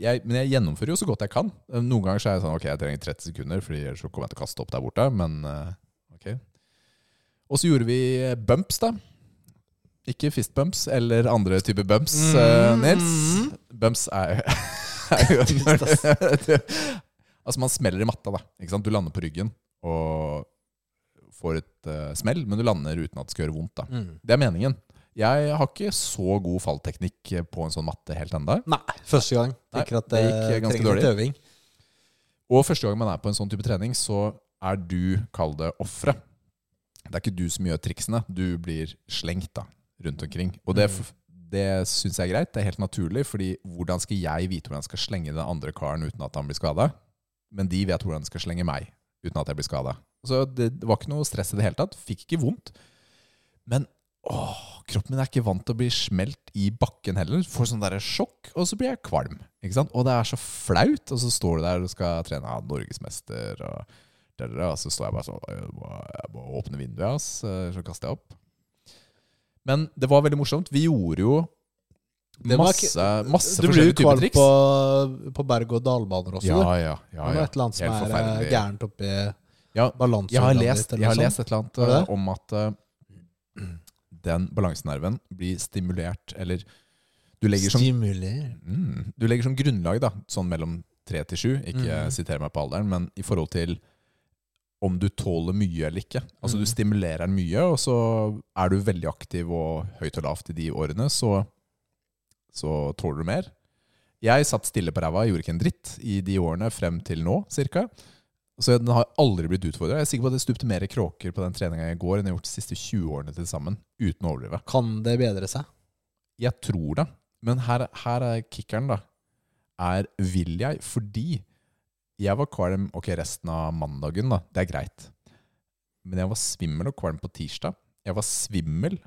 A: jeg, men jeg gjennomfører jo så godt jeg kan. Eh, Noen ganger så er jeg sånn Ok, jeg trenger 30 sekunder, Fordi ellers så kommer jeg til å kaste opp der borte. Men eh, ok, og så gjorde vi bumps, da. Ikke fistbumps eller andre typer bumps, eh, Nils. Bumps er, er jo Altså, man smeller i matta, da. Ikke sant? Du lander på ryggen og får et eh, smell, men du lander uten at det skal gjøre vondt. da.
B: Mm.
A: Det er meningen. Jeg har ikke så god fallteknikk på en sånn matte helt ennå.
B: Nei, første gang.
A: Nei,
B: Tenker at
A: det
B: eh,
A: gikk ganske
B: trenger litt
A: dårlig.
B: Øving.
A: Og første gang man er på en sånn type trening, så er du, kall det, offeret. Det er ikke du som gjør triksene. Du blir slengt da, rundt omkring. Og det, f- det syns jeg er greit. Det er helt naturlig, fordi hvordan skal jeg vite hvordan jeg skal slenge den andre karen uten at han blir skada? men de vet hvordan de skal slenge meg uten at jeg blir skada. Så det, det var ikke noe stress i det hele tatt. Fikk ikke vondt. Men åh, kroppen min er ikke vant til å bli smelt i bakken heller. Får sånn der sjokk, og så blir jeg kvalm. Ikke sant? Og det er så flaut. Og så står du der og skal trene ja, norgesmester, og, da, da, da, og så står jeg bare sånn Jeg må, jeg må åpne vinduet, ass. eh, Så kaster jeg opp. Men det var veldig morsomt. Vi gjorde jo
B: Det var
A: masse,
B: ikke-
A: masse
B: Du blir jo
A: forskjellige typer
B: kvalm
A: triks.
B: på, på berg-og-dal-baner også.
A: ja,
B: du.
A: ja, ja, ja.
B: Det er et eller annet
A: Helt
B: som er eh,
A: forferdelig.
B: gærent oppi
A: Ja,
B: balanseorganet
A: jeg har lest,
B: ditt, sånn eller
A: jeg har
B: noe
A: lest et eller annet
B: Var det det?
A: eh, om at eh, den balansenerven blir stimulert, eller du legger som,
B: Stimuler.
A: mm, du legger som grunnlag, da, sånn mellom tre til sju, ikke
B: Mhm.
A: eh, siter meg på alderen, men i forhold til om du tåler mye eller ikke. Altså
B: Mhm.
A: du stimulerer den mye, og så er du veldig aktiv og høyt og lavt i de årene, så, så tåler du mer. Jeg satt stille på ræva, gjorde ikke en dritt i de årene frem til nå, cirka. Så den har aldri blitt utfordra. Jeg er sikker på at det stupte mer kråker på den treninga jeg går enn jeg har gjort de siste 20 årene til sammen. Uten å overdrive.
B: Kan det bedre seg?
A: Jeg tror det. Men her, her er kickeren, da. Er vil jeg? Fordi jeg var kvalm ok, resten av mandagen, da. Det er greit. Men jeg var svimmel og kvalm på tirsdag. Jeg var svimmel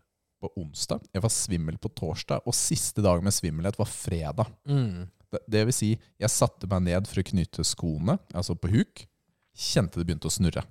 A: på onsdag. Jeg var svimmel på torsdag. Og siste dag med svimmelhet var fredag. Det, det vil si, jeg satte meg ned for å knyte skoene, altså på huk. Kjente det begynte å snurre.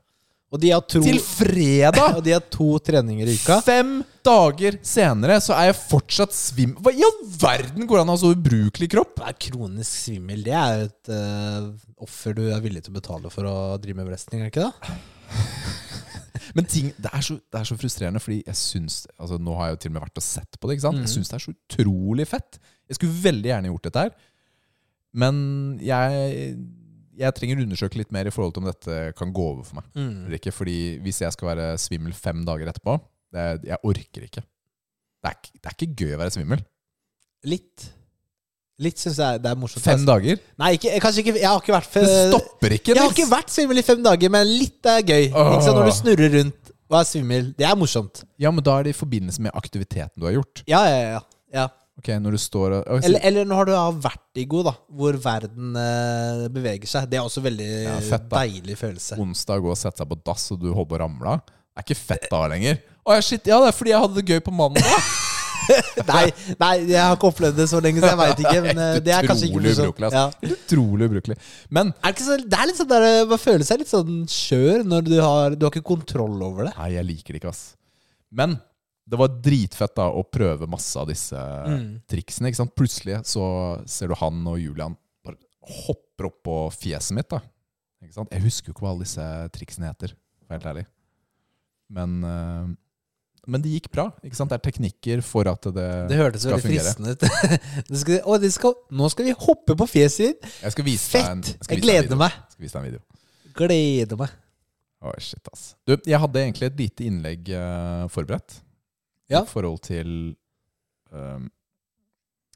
B: Og de har to,
A: Til fredag!
B: og de har to treninger i uka.
A: Fem dager senere så er jeg fortsatt svim... Hva i all verden går an å ha så ubrukelig kropp?
B: Det er kronisk svimmel. Det er jo et eh, offer du er villig til å betale for å drive med wrestling, er det ikke det?
A: Men ting, det er, så, det er så frustrerende, fordi jeg syns altså Nå har jeg jo til og med vært og sett på det. ikke sant?
B: Mm.
A: Jeg syns det er så utrolig fett. Jeg skulle veldig gjerne gjort dette her. Men jeg, jeg trenger å undersøke litt mer i forhold til om dette kan gå over for meg.
B: Mm.
A: Eller ikke, fordi Hvis jeg skal være svimmel fem dager etterpå det, er- Jeg orker ikke. Det er, ikke- det er ikke gøy å være svimmel.
B: Litt. Litt syns jeg det er morsomt.
A: Fem dager.
B: Nei, ikke, kanskje ikke Jeg har ikke vært
A: Det stopper ikke.
B: Jeg har
A: Nils.
B: ikke vært svimmel i fem dager, men litt er gøy.
A: Åh.
B: Ikke sant, Når du snurrer rundt og er svimmel. Det er morsomt.
A: Ja, men da er det i forbindelse med aktiviteten du har gjort.
B: Ja, ja, ja. ja.
A: Ok, når du står og... Oi,
B: Eller, eller når du har vertigo, da, hvor verden eh, beveger seg. Det er også veldig
A: Ja, fett, da.
B: deilig følelse.
A: onsdag gå og sette seg på dass, og du håper å ramle av. Det er ikke fett da lenger. Å ja, shit, ja, det er fordi jeg hadde det gøy på mandag.
B: Nei, nei, jeg har ikke opplevd det så lenge, så jeg veit ikke. Men eh, det er kanskje ikke
A: utrolig
B: morsomt.
A: ubrukelig.
B: Ja.
A: ass. Helt Utrolig ubrukelig. Men
B: Er det, ikke så, det er litt sånn der eh, Man føler seg litt sånn skjør når du har Du har ikke kontroll over det.
A: Nei, jeg liker det ikke, ass. Men det var dritfett da å prøve masse av disse eh,
B: Mm.
A: triksene. ikke sant? Plutselig så ser du han og Julian bare hopper opp på fjeset mitt. da. Ikke sant? Jeg husker jo ikke hva alle disse triksene heter, for å være helt ærlig. Men, eh, men det gikk bra. ikke sant? Det er teknikker for at det,
B: Det hørtes
A: skal
B: veldig fristende ut. Det skal, å, det skal, nå skal vi hoppe på fjeset ditt!
A: Jeg skal vise deg en,
B: Fett! Jeg
A: skal vise deg en
B: gleder
A: video.
B: meg.
A: Skal vise deg en video.
B: Gleder meg.
A: Oi, shit, ass. Du, jeg hadde egentlig et lite innlegg eh, forberedt.
B: Ja.
A: I forhold til ehm,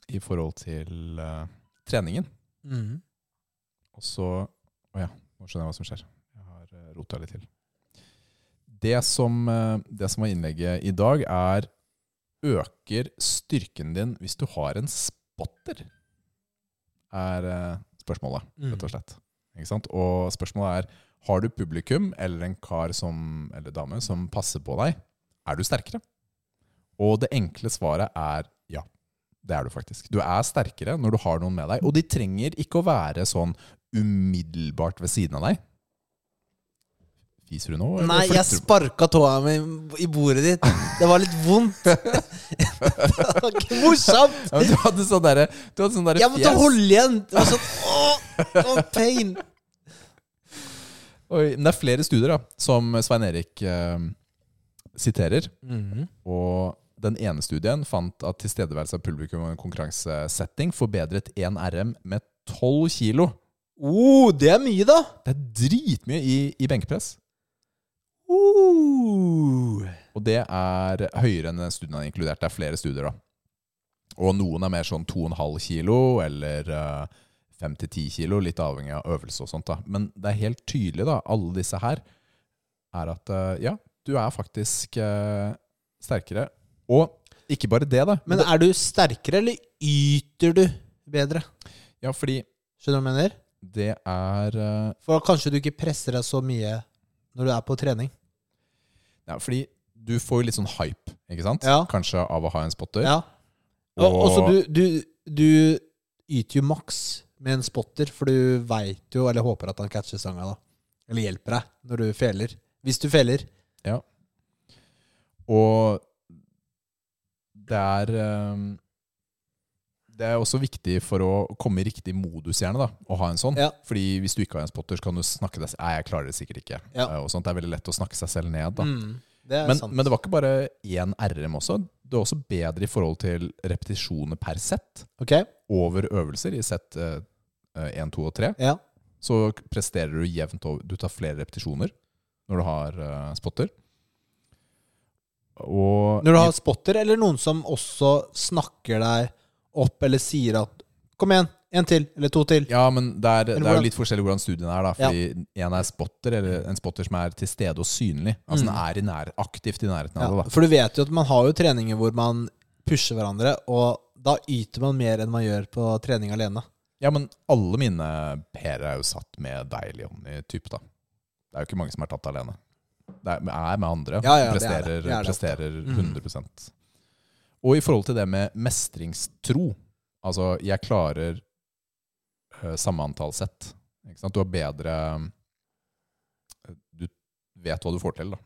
A: I forhold til eh, treningen.
B: Mm.
A: Og så Å ja, nå skjønner jeg hva som skjer. Jeg har rota litt til. Det som, eh, det som var innlegget i dag, er Øker styrken din hvis du har en spotter? Er eh, spørsmålet,
B: Mm.
A: rett og slett. Ikke sant? Og spørsmålet er har du publikum eller en kar som, eller dame som passer på deg, er du sterkere? Og det enkle svaret er ja. Det er du faktisk. Du er sterkere når du har noen med deg. Og de trenger ikke å være sånn umiddelbart ved siden av deg. Fiser du nå? eller
B: Nei, jeg
A: flytter du på-
B: sparka tåa mi i bordet ditt. Det var litt vondt. Det var ikke morsomt!
A: ja, men Du hadde sånn derre du hadde sånn derre
B: Jeg måtte
A: fjes.
B: holde igjen! Det var sånn Åh, åh, pain!
A: Oi, men det er flere studier da, som Svein Erik eh, siterer. Mhm. Og den ene studien fant at tilstedeværelse av publikum i en konkurransesetting forbedret 1 RM med 12 kilo.
B: Oh, det er mye, da!
A: Det er dritmye i, i benkpress.
B: Uh.
A: Og det er høyere enn den studien har inkludert. Det er flere studier, da. Og noen er mer sånn 2,5 kilo eller eh, 5-10 kilo, litt avhengig av øvelse og sånt. da. Men det er helt tydelig, da, alle disse her, er at eh, ja, du er faktisk eh, sterkere. Og ikke bare det, da.
B: Men er du sterkere, eller yter du bedre?
A: ja, fordi
B: Skjønner du hva jeg mener?
A: det er eh,
B: For kanskje du ikke presser deg så mye når du er på trening.
A: ja, Fordi du får jo litt sånn hype, ikke sant?
B: Ja.
A: Kanskje av å ha en spotter.
B: Ja. Og også du, du, du yter jo maks med en spotter, for du veit jo, eller håper at han catcher stanga, da. Eller hjelper deg når du feler. Hvis du feler.
A: Og det er eh, Det er også viktig for å komme i riktig modus gjerne da, å ha en sånn.
B: Ja.
A: Fordi hvis du ikke har en spotter, så kan du snakke deg Nei, jeg klarer det sikkert ikke.
B: Ja.
A: Eh, Og sånt. Det er veldig lett å snakke seg selv ned. da.
B: Mm, det er
A: Men,
B: sant.
A: men det var ikke bare én RM også. Det var også bedre i forhold til repetisjoner per sett
B: Ok?
A: over øvelser i sett eh, eh, 1, 2 og 3.
B: Ja.
A: Så presterer du jevnt over. Du tar flere repetisjoner når du har eh, spotter. Og
B: Når du har spotter, eller noen som også snakker deg opp eller sier at Kom igjen, en til, eller to til.
A: Ja, men det er, det er
B: hvordan-
A: jo litt forskjellig hvordan studien er. da Fordi en er spotter, eller en spotter som er til stede og synlig. Altså den er i nær, aktivt i nærheten av
B: Mm. Ja,
A: det. da
B: for du vet jo at man har jo treninger hvor man pusher hverandre, og da yter man mer enn man gjør på trening alene.
A: Ja, men alle mine pærer er jo satt med deg, Leon, i type, da. Det er jo ikke mange som er tatt alene. Det er, men er med andre.
B: Ja, ja, det er
A: presterer
B: det. Det er det ofte. Mm.
A: presterer 100 Og i forhold til det med mestringstro Altså, jeg klarer eh, samme antall sett. Ikke sant? Du har bedre Du vet hva du får til, da.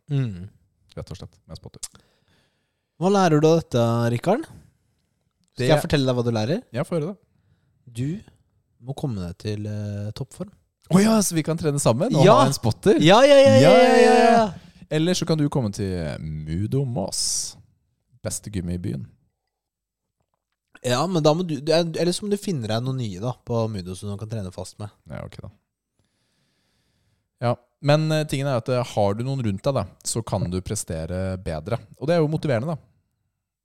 A: rett og slett, med spotter.
B: Hva lærer du av dette, Rikard? Skal
A: Det-
B: jeg fortelle deg hva du lærer?
A: Ja, få høre det.
B: Du må komme deg til eh, toppform.
A: Å ja, så vi kan trene sammen og
B: Ja.
A: ha en spotter?
B: Ja, ja, ja! ja, ja, ja, ja.
A: Eller så kan du komme til Mudo Moss. Beste gymmet i byen.
B: ja men da må du du er- Eller så må du finne deg noen nye da på Mudo som du kan trene fast med.
A: Ja, ok da. Ja, Men eh, tingen er at eh, har du noen rundt deg, da, så kan du prestere bedre. Og det er jo motiverende, da.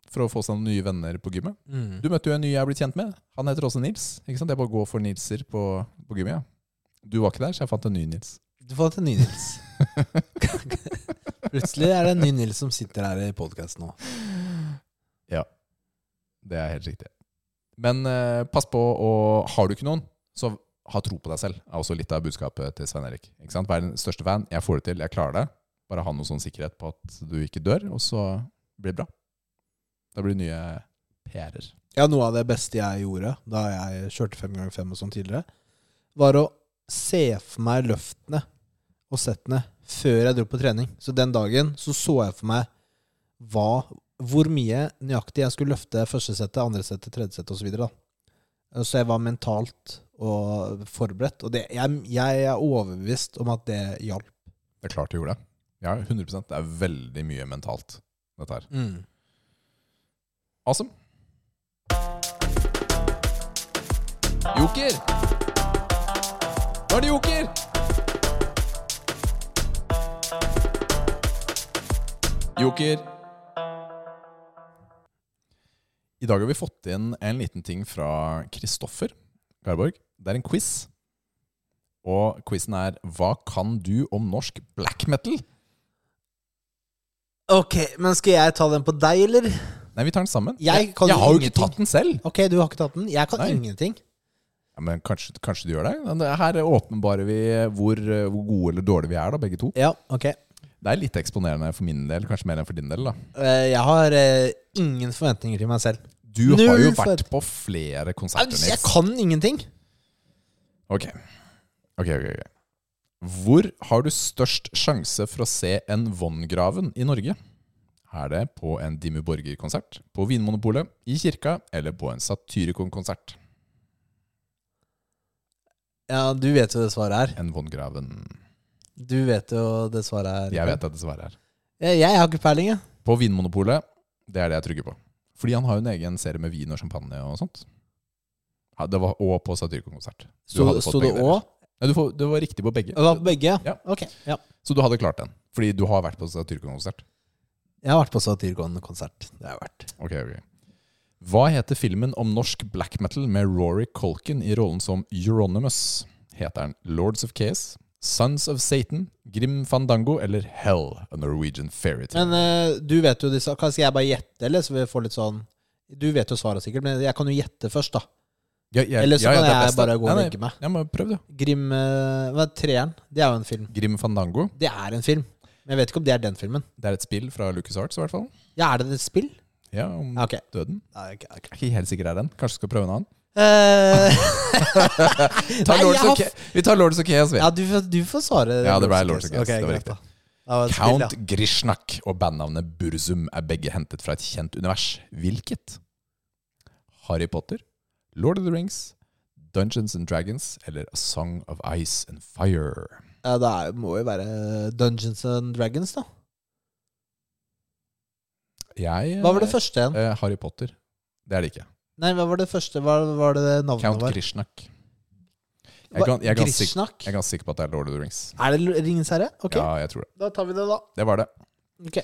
A: For å få seg noen nye venner på gymmet.
B: Mm.
A: Du møtte jo en ny jeg er blitt kjent med. Han heter også Nils. ikke sant? Jeg bare går for Nilser på, på gymmet. Ja. Du var ikke der, så jeg fant en ny Nils.
B: Du får til ny Nils. Plutselig er det en ny Nils som sitter her i podkasten nå.
A: Det er helt riktig. Men eh, pass på, og har du ikke noen, så ha tro på deg selv. er også litt av budskapet til Svein Erik. Ikke sant? Vær den største fan. Jeg får det til, jeg klarer det. Bare ha noe sånn sikkerhet på at du ikke dør, og så blir det bra. Da blir det nye PR-er.
B: Ja, noe av det beste jeg gjorde da jeg kjørte fem ganger fem og sånn tidligere, var å se for meg løftene og settene før jeg dro på trening. Så den dagen så, så jeg for meg hva, hvor mye nøyaktig jeg skulle løfte første settet, andre settet, tredje settet osv. Så, videre, da. så jeg var mentalt og forberedt. Og det, jeg, jeg er overbevist om at det hjalp.
A: Det er klart du gjorde det. Ja, 100 Det er veldig mye mentalt, dette her. Awesome. Joker! Nå er det joker! Joker. I dag har vi fått inn en liten ting fra Kristoffer Garborg. Det er en quiz. Og quizen er 'Hva kan du om norsk black metal?'
B: Ok, men skal jeg ta den på deg, eller?
A: Nei, vi tar den sammen.
B: Jeg kan
A: jeg har jo ikke
B: ingenting.
A: tatt den selv!
B: Ok, du har ikke tatt den. Jeg kan
A: Nei.
B: ingenting.
A: Ja, men kanskje, kanskje du gjør det? Men det- Her åpenbarer vi hvor, eh, hvor gode eller dårlige vi er, da, begge to.
B: Ja, ok.
A: Det er litt eksponerende for min del, kanskje mer enn for din del. da.
B: Eh, Jeg har eh, ingen forventninger til meg selv.
A: Du har jo
B: Null for-
A: vært på flere konserter,
B: Jeg, jeg
A: Nils.
B: kan ingenting.
A: Ok. ok, ok, ok. Hvor har du størst sjanse for å se en Vonn-graven i Norge? Er det på en Dimmu Borger-konsert, på Vinmonopolet, i kirka eller på en Satyricon-konsert?
B: Ja, du vet jo det svaret er.
A: En Vonn-graven
B: Du vet jo det svaret er.
A: Jeg vet det dessverre er.
B: Jeg, jeg har ikke peiling, jeg.
A: På Vinmonopolet, det er det jeg trygger på. Fordi han har jo en egen serie med vin og champagne og sånt. Ja, det var Og på Satyricon-konsert. Du
B: Sto,
A: hadde fått
B: sto det
A: begge
B: Å?
A: deler. Nei, du, får- det var riktig på begge.
B: Det var på begge, ja.
A: Ja.
B: Ok. Ja.
A: Så du hadde klart den. Fordi du har vært på Satyricon-konsert.
B: Jeg har vært på Satyrgon-konsert. Det har jeg vært.
A: Ok, ok. Hva heter filmen om norsk black metal med Rory Colkin i rollen som Euronymous? Heter den Lords of Chaos, Sons of Satan, Grim Fandango eller Hell, a Norwegian fairytale?
B: Men eh, du vet jo disse Kan skal jeg bare gjette, eller? Så vi får litt sånn Du vet jo svaret sikkert, men jeg kan jo gjette først, da.
A: Ja, ja,
B: Eller så
A: ja, ja,
B: kan
A: det er
B: jeg
A: best, det.
B: bare gå og
A: Nei,
B: legge meg.
A: Nei, ja, men prøv, du.
B: Grim eh, Hva er treeren? Det er jo en film.
A: Grim Fandango.
B: Det er en film. Men jeg vet ikke om det er den filmen.
A: Det er et spill fra Lucas Arts, i hvert fall.
B: Ja, er det et spill?
A: Ja, om
B: Ja, ok.
A: døden.
B: Nei, ok, ok.
A: Jeg er ikke helt sikker det er den. Kanskje du skal prøve en annen?
B: Eh,
A: Ta
B: Nei,
A: Lords
B: jeg har
A: of Ca- Vi tar Lords of Chaos, vi.
B: ja, du, får- du får svare.
A: Ja, det ble
B: Lords of
A: Lords of Chaos,
B: Ok,
A: det var
B: greit
A: riktig.
B: da. Det var et spill,
A: Count Grishnak og bandnavnet Burzum er begge hentet fra et kjent univers. Hvilket? Harry Potter, Lord of the Rings, Dungeons and Dragons eller A Song of Ice and Fire?
B: Ja, det er, må jo være Dungeons and Dragons, da.
A: Jeg
B: Hva var det første igjen?
A: Eh, Harry Potter. Det er det ikke.
B: Nei, hva var det første? Hva var det navnet
A: Count
B: var?
A: Grishnak. Jeg er gan- jeg er ganske sikker-
B: Grishnak?
A: jeg er ganske sikker på at det er Lord of the Rings.
B: Er det Ringens herre? Ok,
A: Ja, jeg tror det.
B: da tar vi det, da.
A: Det var det.
B: Ok.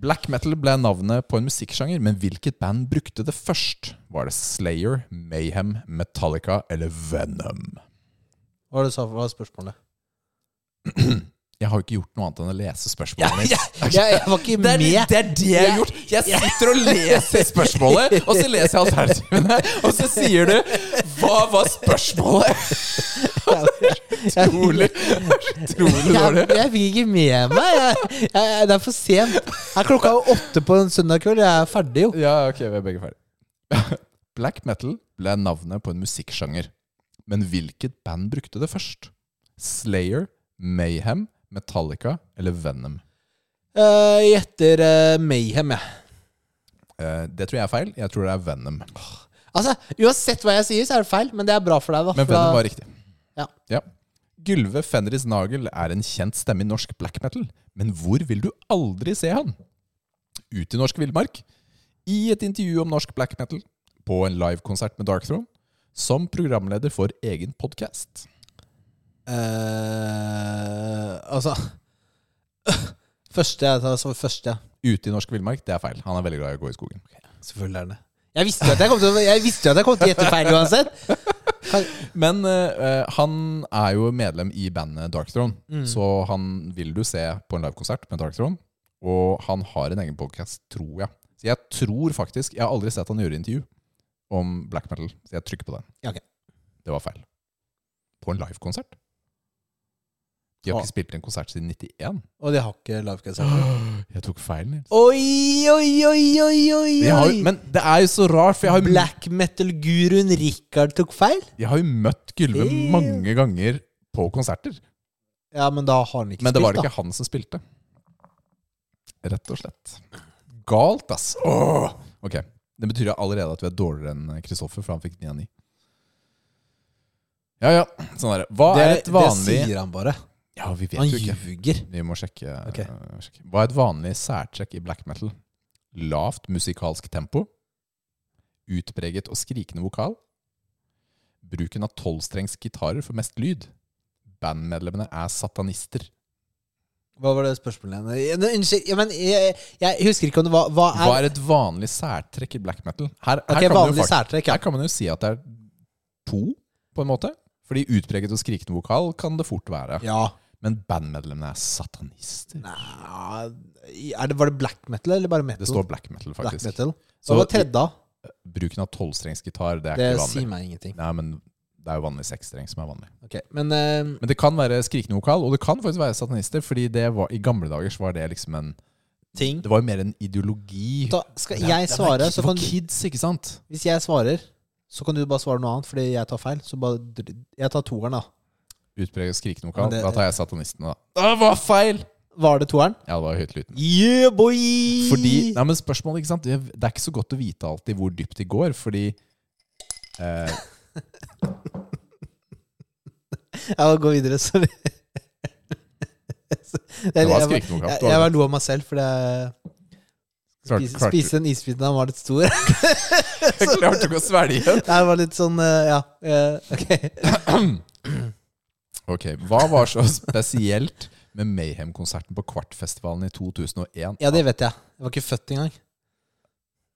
A: Black metal ble navnet på en musikksjanger, men hvilket band brukte det først? Var det Slayer, Mayhem, Metallica eller Venom?
B: Hva var det du sa for spørsmålet?
A: Jeg har jo ikke gjort noe annet enn å lese spørsmålene. mitt.
B: Jeg, jeg var ikke med.
A: det jeg har gjort! Jeg sitter og leser spørsmålet, og så leser jeg alternativene, og så sier du 'Hva var spørsmålet?' Utrolig utrolig
B: Jeg,
A: dårlig.
B: jeg fikk ikke med meg. Jeg, jeg, jeg, det er for sent. Det er klokka åtte på en søndag kveld. Jeg er ferdig, jo.
A: Ja, ok, vi er begge ferdige. Black metal ble navnet på en musikksjanger. Men hvilket band brukte det først? Slayer, Mayhem, Metallica eller Venom?
B: Eh, Jeg gjetter eh, Mayhem, jeg.
A: Eh, det tror jeg er feil. Jeg tror det er Venom.
B: Altså, uansett hva jeg sier, så er det feil, men det er bra for deg, da.
A: Men
B: for da-
A: Venom var riktig.
B: Ja.
A: Gylve Fenris Nagel er en kjent stemme i norsk black metal, men hvor vil du aldri se han? Ut i norsk villmark? I et intervju om norsk black metal? På en livekonsert med Dark Throne? Som programleder for egen podkast?
B: Eh, altså Første jeg tar som første.
A: Ute i norsk villmark, det er feil. Han er veldig glad i å gå i skogen.
B: Selvfølgelig er det Jeg visste jo at jeg kom til å- jeg visste jo at jeg kom til å gjette feil uansett. Kan,
A: Men eh, eh, han er jo medlem i bandet Dark Throne,
B: Mm.
A: så han vil du se på en livekonsert med Dark Throne. Og han har en egen podcast, tror jeg. Så jeg tror faktisk Jeg har aldri sett han gjøre intervju om black metal, så jeg trykker på den.
B: Ja, ok.
A: Det var feil. På en livekonsert. De har
B: Ah.
A: ikke spilt en konsert siden 91.
B: og de har ikke livekonsert.
A: Jeg tok feil, Nils.
B: Oi, oi, oi, oi, oi!
A: Jeg har,
B: oi.
A: jo- men det er jo så rart, for jeg har jo
B: Black metal-guruen Richard tok feil?
A: Jeg har jo møtt Gylve
B: Damn.
A: mange ganger på konserter,
B: Ja, men da har han ikke
A: men det var
B: spilt, da.
A: ikke han som spilte. Rett og slett. Galt, ass. Åh! Ok, Det betyr jo allerede at vi er dårligere enn Kristoffer, for han fikk 9 av 9. Ja, ja. Sånn er det. Hva
B: Det,
A: er et vanlig
B: det sier han bare.
A: Ja, vi vet
B: Han
A: jo ikke.
B: ljuger.
A: Vi må sjekke,
B: Ok.
A: eh, sjekke. Hva er et vanlig særtrekk i black metal? Lavt musikalsk tempo. Utpreget og skrikende vokal. Bruken av tolvstrengs gitarer for mest lyd. Bandmedlemmene er satanister.
B: Hva var det spørsmålet igjen? Ja, nei, Unnskyld, ja, men jeg, jeg husker ikke om det var Hva er,
A: Hva er et vanlig særtrekk i black metal? Her, her,
B: Ok,
A: kan, man jo
B: vanlig
A: faktisk,
B: særtrekk? Ja.
A: her kan man jo si at det er to, på en måte. Fordi utpreget og skrikende vokal kan det fort være.
B: ja.
A: Men bandmedlemmene er satanister.
B: Nei, er det, Var det black metal eller bare metal?
A: Det står black metal,
B: black
A: faktisk.
B: metal.
A: Så-
B: Hva var tredje, da?
A: Bruken av tolvstrengsgitar, det er
B: Det
A: ikke vanlig.
B: sier meg ingenting.
A: Nei, men det er jo vanlig seksstreng som er vanlig.
B: Ok, Men eh,
A: Men det kan være skrikende vokal, og det kan faktisk være satanister, fordi det var, i gamle dager så var det liksom en
B: ting
A: Det var jo mer en ideologi.
B: Da skal
A: Det er-
B: jeg
A: det er
B: svare,
A: ki-
B: så
A: for
B: kan du
A: kids, ikke sant?
B: Hvis jeg svarer, så kan du bare svare noe annet, fordi jeg tar feil. Så bare dr- Jeg tar toeren, da.
A: Utpreget skrikende vokal.
B: Men det-
A: da tar jeg satanistene, da. Det var feil!
B: Var det toeren?
A: Ja, det var høytlytende.
B: Yeah, boy!
A: Fordi Nei, men spørsmålet, ikke sant? Det det er ikke så godt å vite alltid hvor dypt de går, fordi eh,
B: Ja, gå videre. Sorry.
A: Det var
B: jeg,
A: skrikende
B: jeg,
A: vokal.
B: jeg bare lo av meg selv, fordi jeg
A: Klart-
B: spiste,
A: klart-
B: spiste en isbit da den var litt stor.
A: Klarte ikke å svelge den.
B: Det var litt sånn eh, Ja. eh, Ok.
A: Ok, hva var så spesielt med Mayhem-konserten på Kvartfestivalen i 2001?
B: Ja, det vet jeg. Jeg var ikke født engang.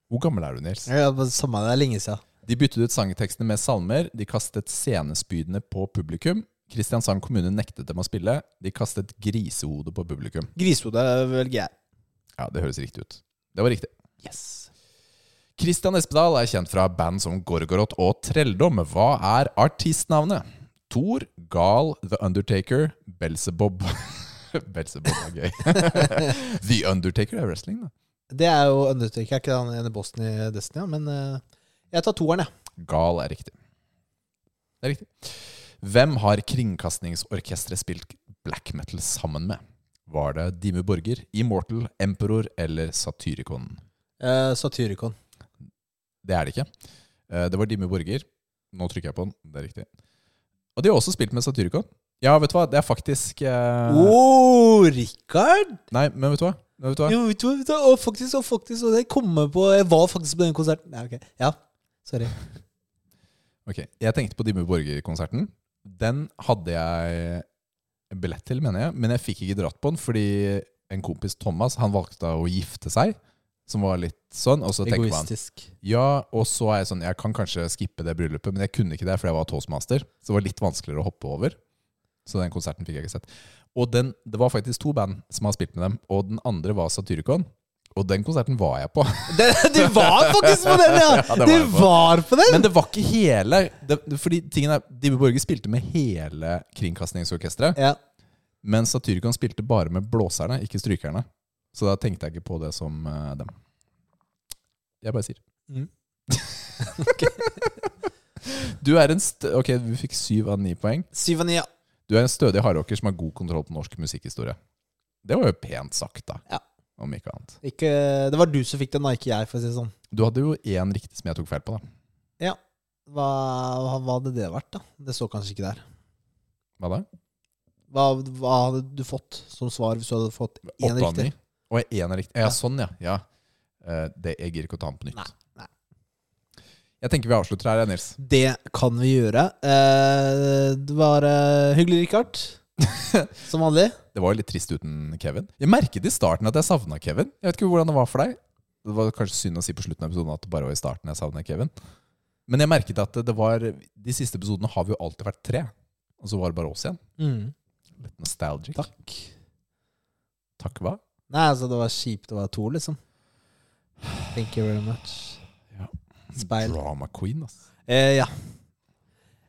A: Hvor gammel er du, Nils?
B: Jeg var bare- Samme det, det er lenge siden.
A: De byttet ut sangtekstene med salmer. De kastet scenespydene på publikum. Kristiansand kommune nektet dem å spille. De kastet grisehodet på publikum.
B: Grisehode velger jeg.
A: Ja, det høres riktig ut. Det var riktig.
B: Yes.
A: Christian Espedal er kjent fra band som Gorgoroth og Trelldom. Hva er artistnavnet? Thor, Gal, The Undertaker, Belzebob. Belzebob er gøy. The Undertaker er wrestling, da.
B: Det er jo Undertaker, er ikke han ene bossen i Destiny, ja, men eh, jeg tar toeren, jeg.
A: Gal er riktig. Det er riktig. Hvem har Kringkastingsorkesteret spilt black metal sammen med? Var det Dime Borger, Immortal, Emperor eller Satyricon?
B: Eh, Satyricon.
A: Det er det ikke. Eh, Det var Dimme Borger. Nå trykker jeg på den. Det er riktig. Og de har også spilt med Satyricon. Ja, vet du hva? Det er faktisk eh,
B: Å, Rikard!
A: Nei, men vet du hva? Nei, Vet du hva?
B: Oh. Jo, vet du hva, vet du hva, og faktisk, og faktisk, og jeg kommer på Jeg var faktisk på den konserten. Nei, ok. Ja, sorry.
A: Ok, Jeg tenkte på Dimme Borger-konserten. Den hadde jeg billett til, mener jeg, men jeg fikk ikke dratt på den fordi en kompis, Thomas, han valgte da å gifte seg, som var litt sånn. Og så tenker man
B: Egoistisk.
A: Ja, og så er jeg sånn Jeg kan kanskje skippe det bryllupet, men jeg kunne ikke det fordi jeg var toastmaster. Så det var litt vanskeligere å hoppe over. Så den konserten fikk jeg ikke sett. Og den, det var faktisk to band som har spilt med dem, og den andre var Satyricon. Og den konserten var jeg på.
B: Det, du var faktisk på den, ja!
A: Ja, det var
B: du
A: jeg på.
B: var på den!
A: Men det var ikke hele. Det, fordi tingen er, Dibbe Borge spilte med hele Kringkastingsorkesteret.
B: Ja.
A: Men Satyricon spilte bare med blåserne, ikke strykerne. Så da tenkte jeg ikke på det som eh, dem. Jeg bare sier.
B: Mm.
A: du er en st Ok, du fikk syv av ni poeng.
B: Syv av ni, ja.
A: Du er en stødig hardrocker som har god kontroll på norsk musikkhistorie. Det var jo pent sagt, da.
B: Ja.
A: Om ikke annet.
B: Ikke, det var du som fikk den, og ikke jeg, for å si det sånn.
A: Du hadde jo én riktig som jeg tok feil på, da.
B: Ja. Hva, hva hva hadde det vært, da? Det står kanskje ikke der.
A: Hva da?
B: Hva, hva hadde du fått som svar hvis du hadde fått én
A: Åtte av
B: riktig?
A: ni. Å, én er riktig. Ja, sånn, ja. ja. Eh, Det, jeg gir ikke å ta den på nytt.
B: Nei, nei.
A: Jeg tenker vi avslutter her, jeg, Nils.
B: Det kan vi gjøre. Eh, det var eh, hyggelig, Richard. Som vanlig.
A: Det var jo litt trist uten Kevin. Jeg merket i starten at jeg savna Kevin. Jeg vet ikke hvordan det var for deg. Det var kanskje synd å si på slutten av episoden at det bare var i starten jeg savna Kevin. Men jeg merket at det var De siste episodene har vi jo alltid vært tre. Og så var det bare oss igjen. Litt nostalgic.
B: Takk.
A: Takk hva?
B: Nei, altså, det var kjipt å være to, liksom. Thank you very much.
A: Ja.
B: Speil.
A: Drama queen, ass.
B: Eh, ja.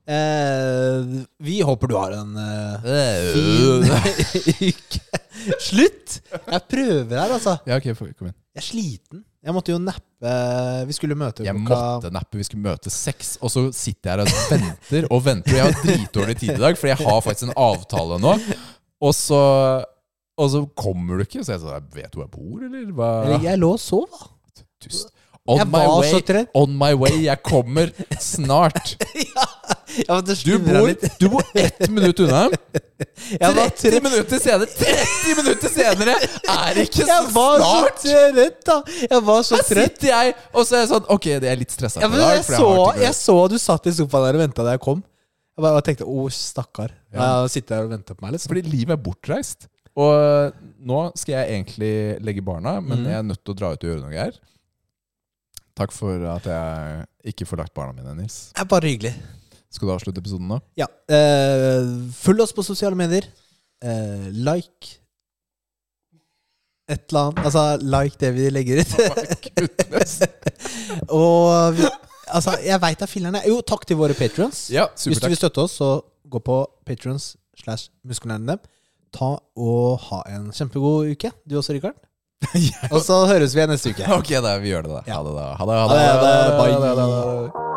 B: Eh, vi håper du har en eh, fin uke. Slutt! Jeg prøver her, altså.
A: Ja, ok, får vi- kom inn.
B: Jeg er sliten. Jeg måtte jo nappe. Vi skulle møte
A: Jeg måtte nappe, vi skulle møte seks, og så sitter jeg her og venter og venter. Og jeg har dritdårlig tid i dag, for jeg har faktisk en avtale nå. Og så, og så kommer du ikke, så jeg sa Vet du hvor jeg bor, eller? Hva?
B: Eller, Jeg lå og sov, da.
A: Tyst. On
B: Jeg
A: my,
B: var så
A: way,
B: trøtt.
A: on my way, jeg kommer snart.
B: Jeg måtte
A: Du
B: slindre
A: bor,
B: litt.
A: du bor ett minutt unna.
B: Jeg var
A: 30 minutter senere 30 minutter senere er ikke så
B: Jeg var så
A: snart!
B: trøtt, da. Jeg var så
A: Her
B: trøtt.
A: sitter jeg, og så er jeg sånn Ok, jeg er litt stressa.
B: Ja,
A: i
B: men
A: dag,
B: jeg,
A: for
B: så,
A: har ting å
B: jeg så du satt i sofaen der og venta da jeg kom. Jeg bare tenkte 'å, stakkar'.
A: Ja.
B: Jeg sitter der og venter på meg, liksom.
A: Fordi livet er bortreist. Og eh, nå skal jeg egentlig legge barna,
B: Mm.
A: men jeg er nødt til å dra ut og gjøre noe her. Takk for at jeg ikke får lagt barna mine, Nils.
B: Det er bare hyggelig.
A: Skal du avslutte episoden nå?
B: Ja. eh, følg oss på sosiale medier. Eh, like et eller annet Altså, like det vi legger ut. Og vi, altså, jeg veit da filler'n. Jo, takk til våre patrions.
A: Ja,
B: Hvis du
A: supert.
B: vil støtte oss, så gå på patrions slash muskulærene. Ta og ha en kjempegod uke, du også, Rikard. Og så høres vi igjen neste uke.
A: Ok, da, vi gjør det, da. Ha det, da. Ha det, ha
B: Ha
A: det.
B: det, ha det. Bye.
A: Ha det, ha det.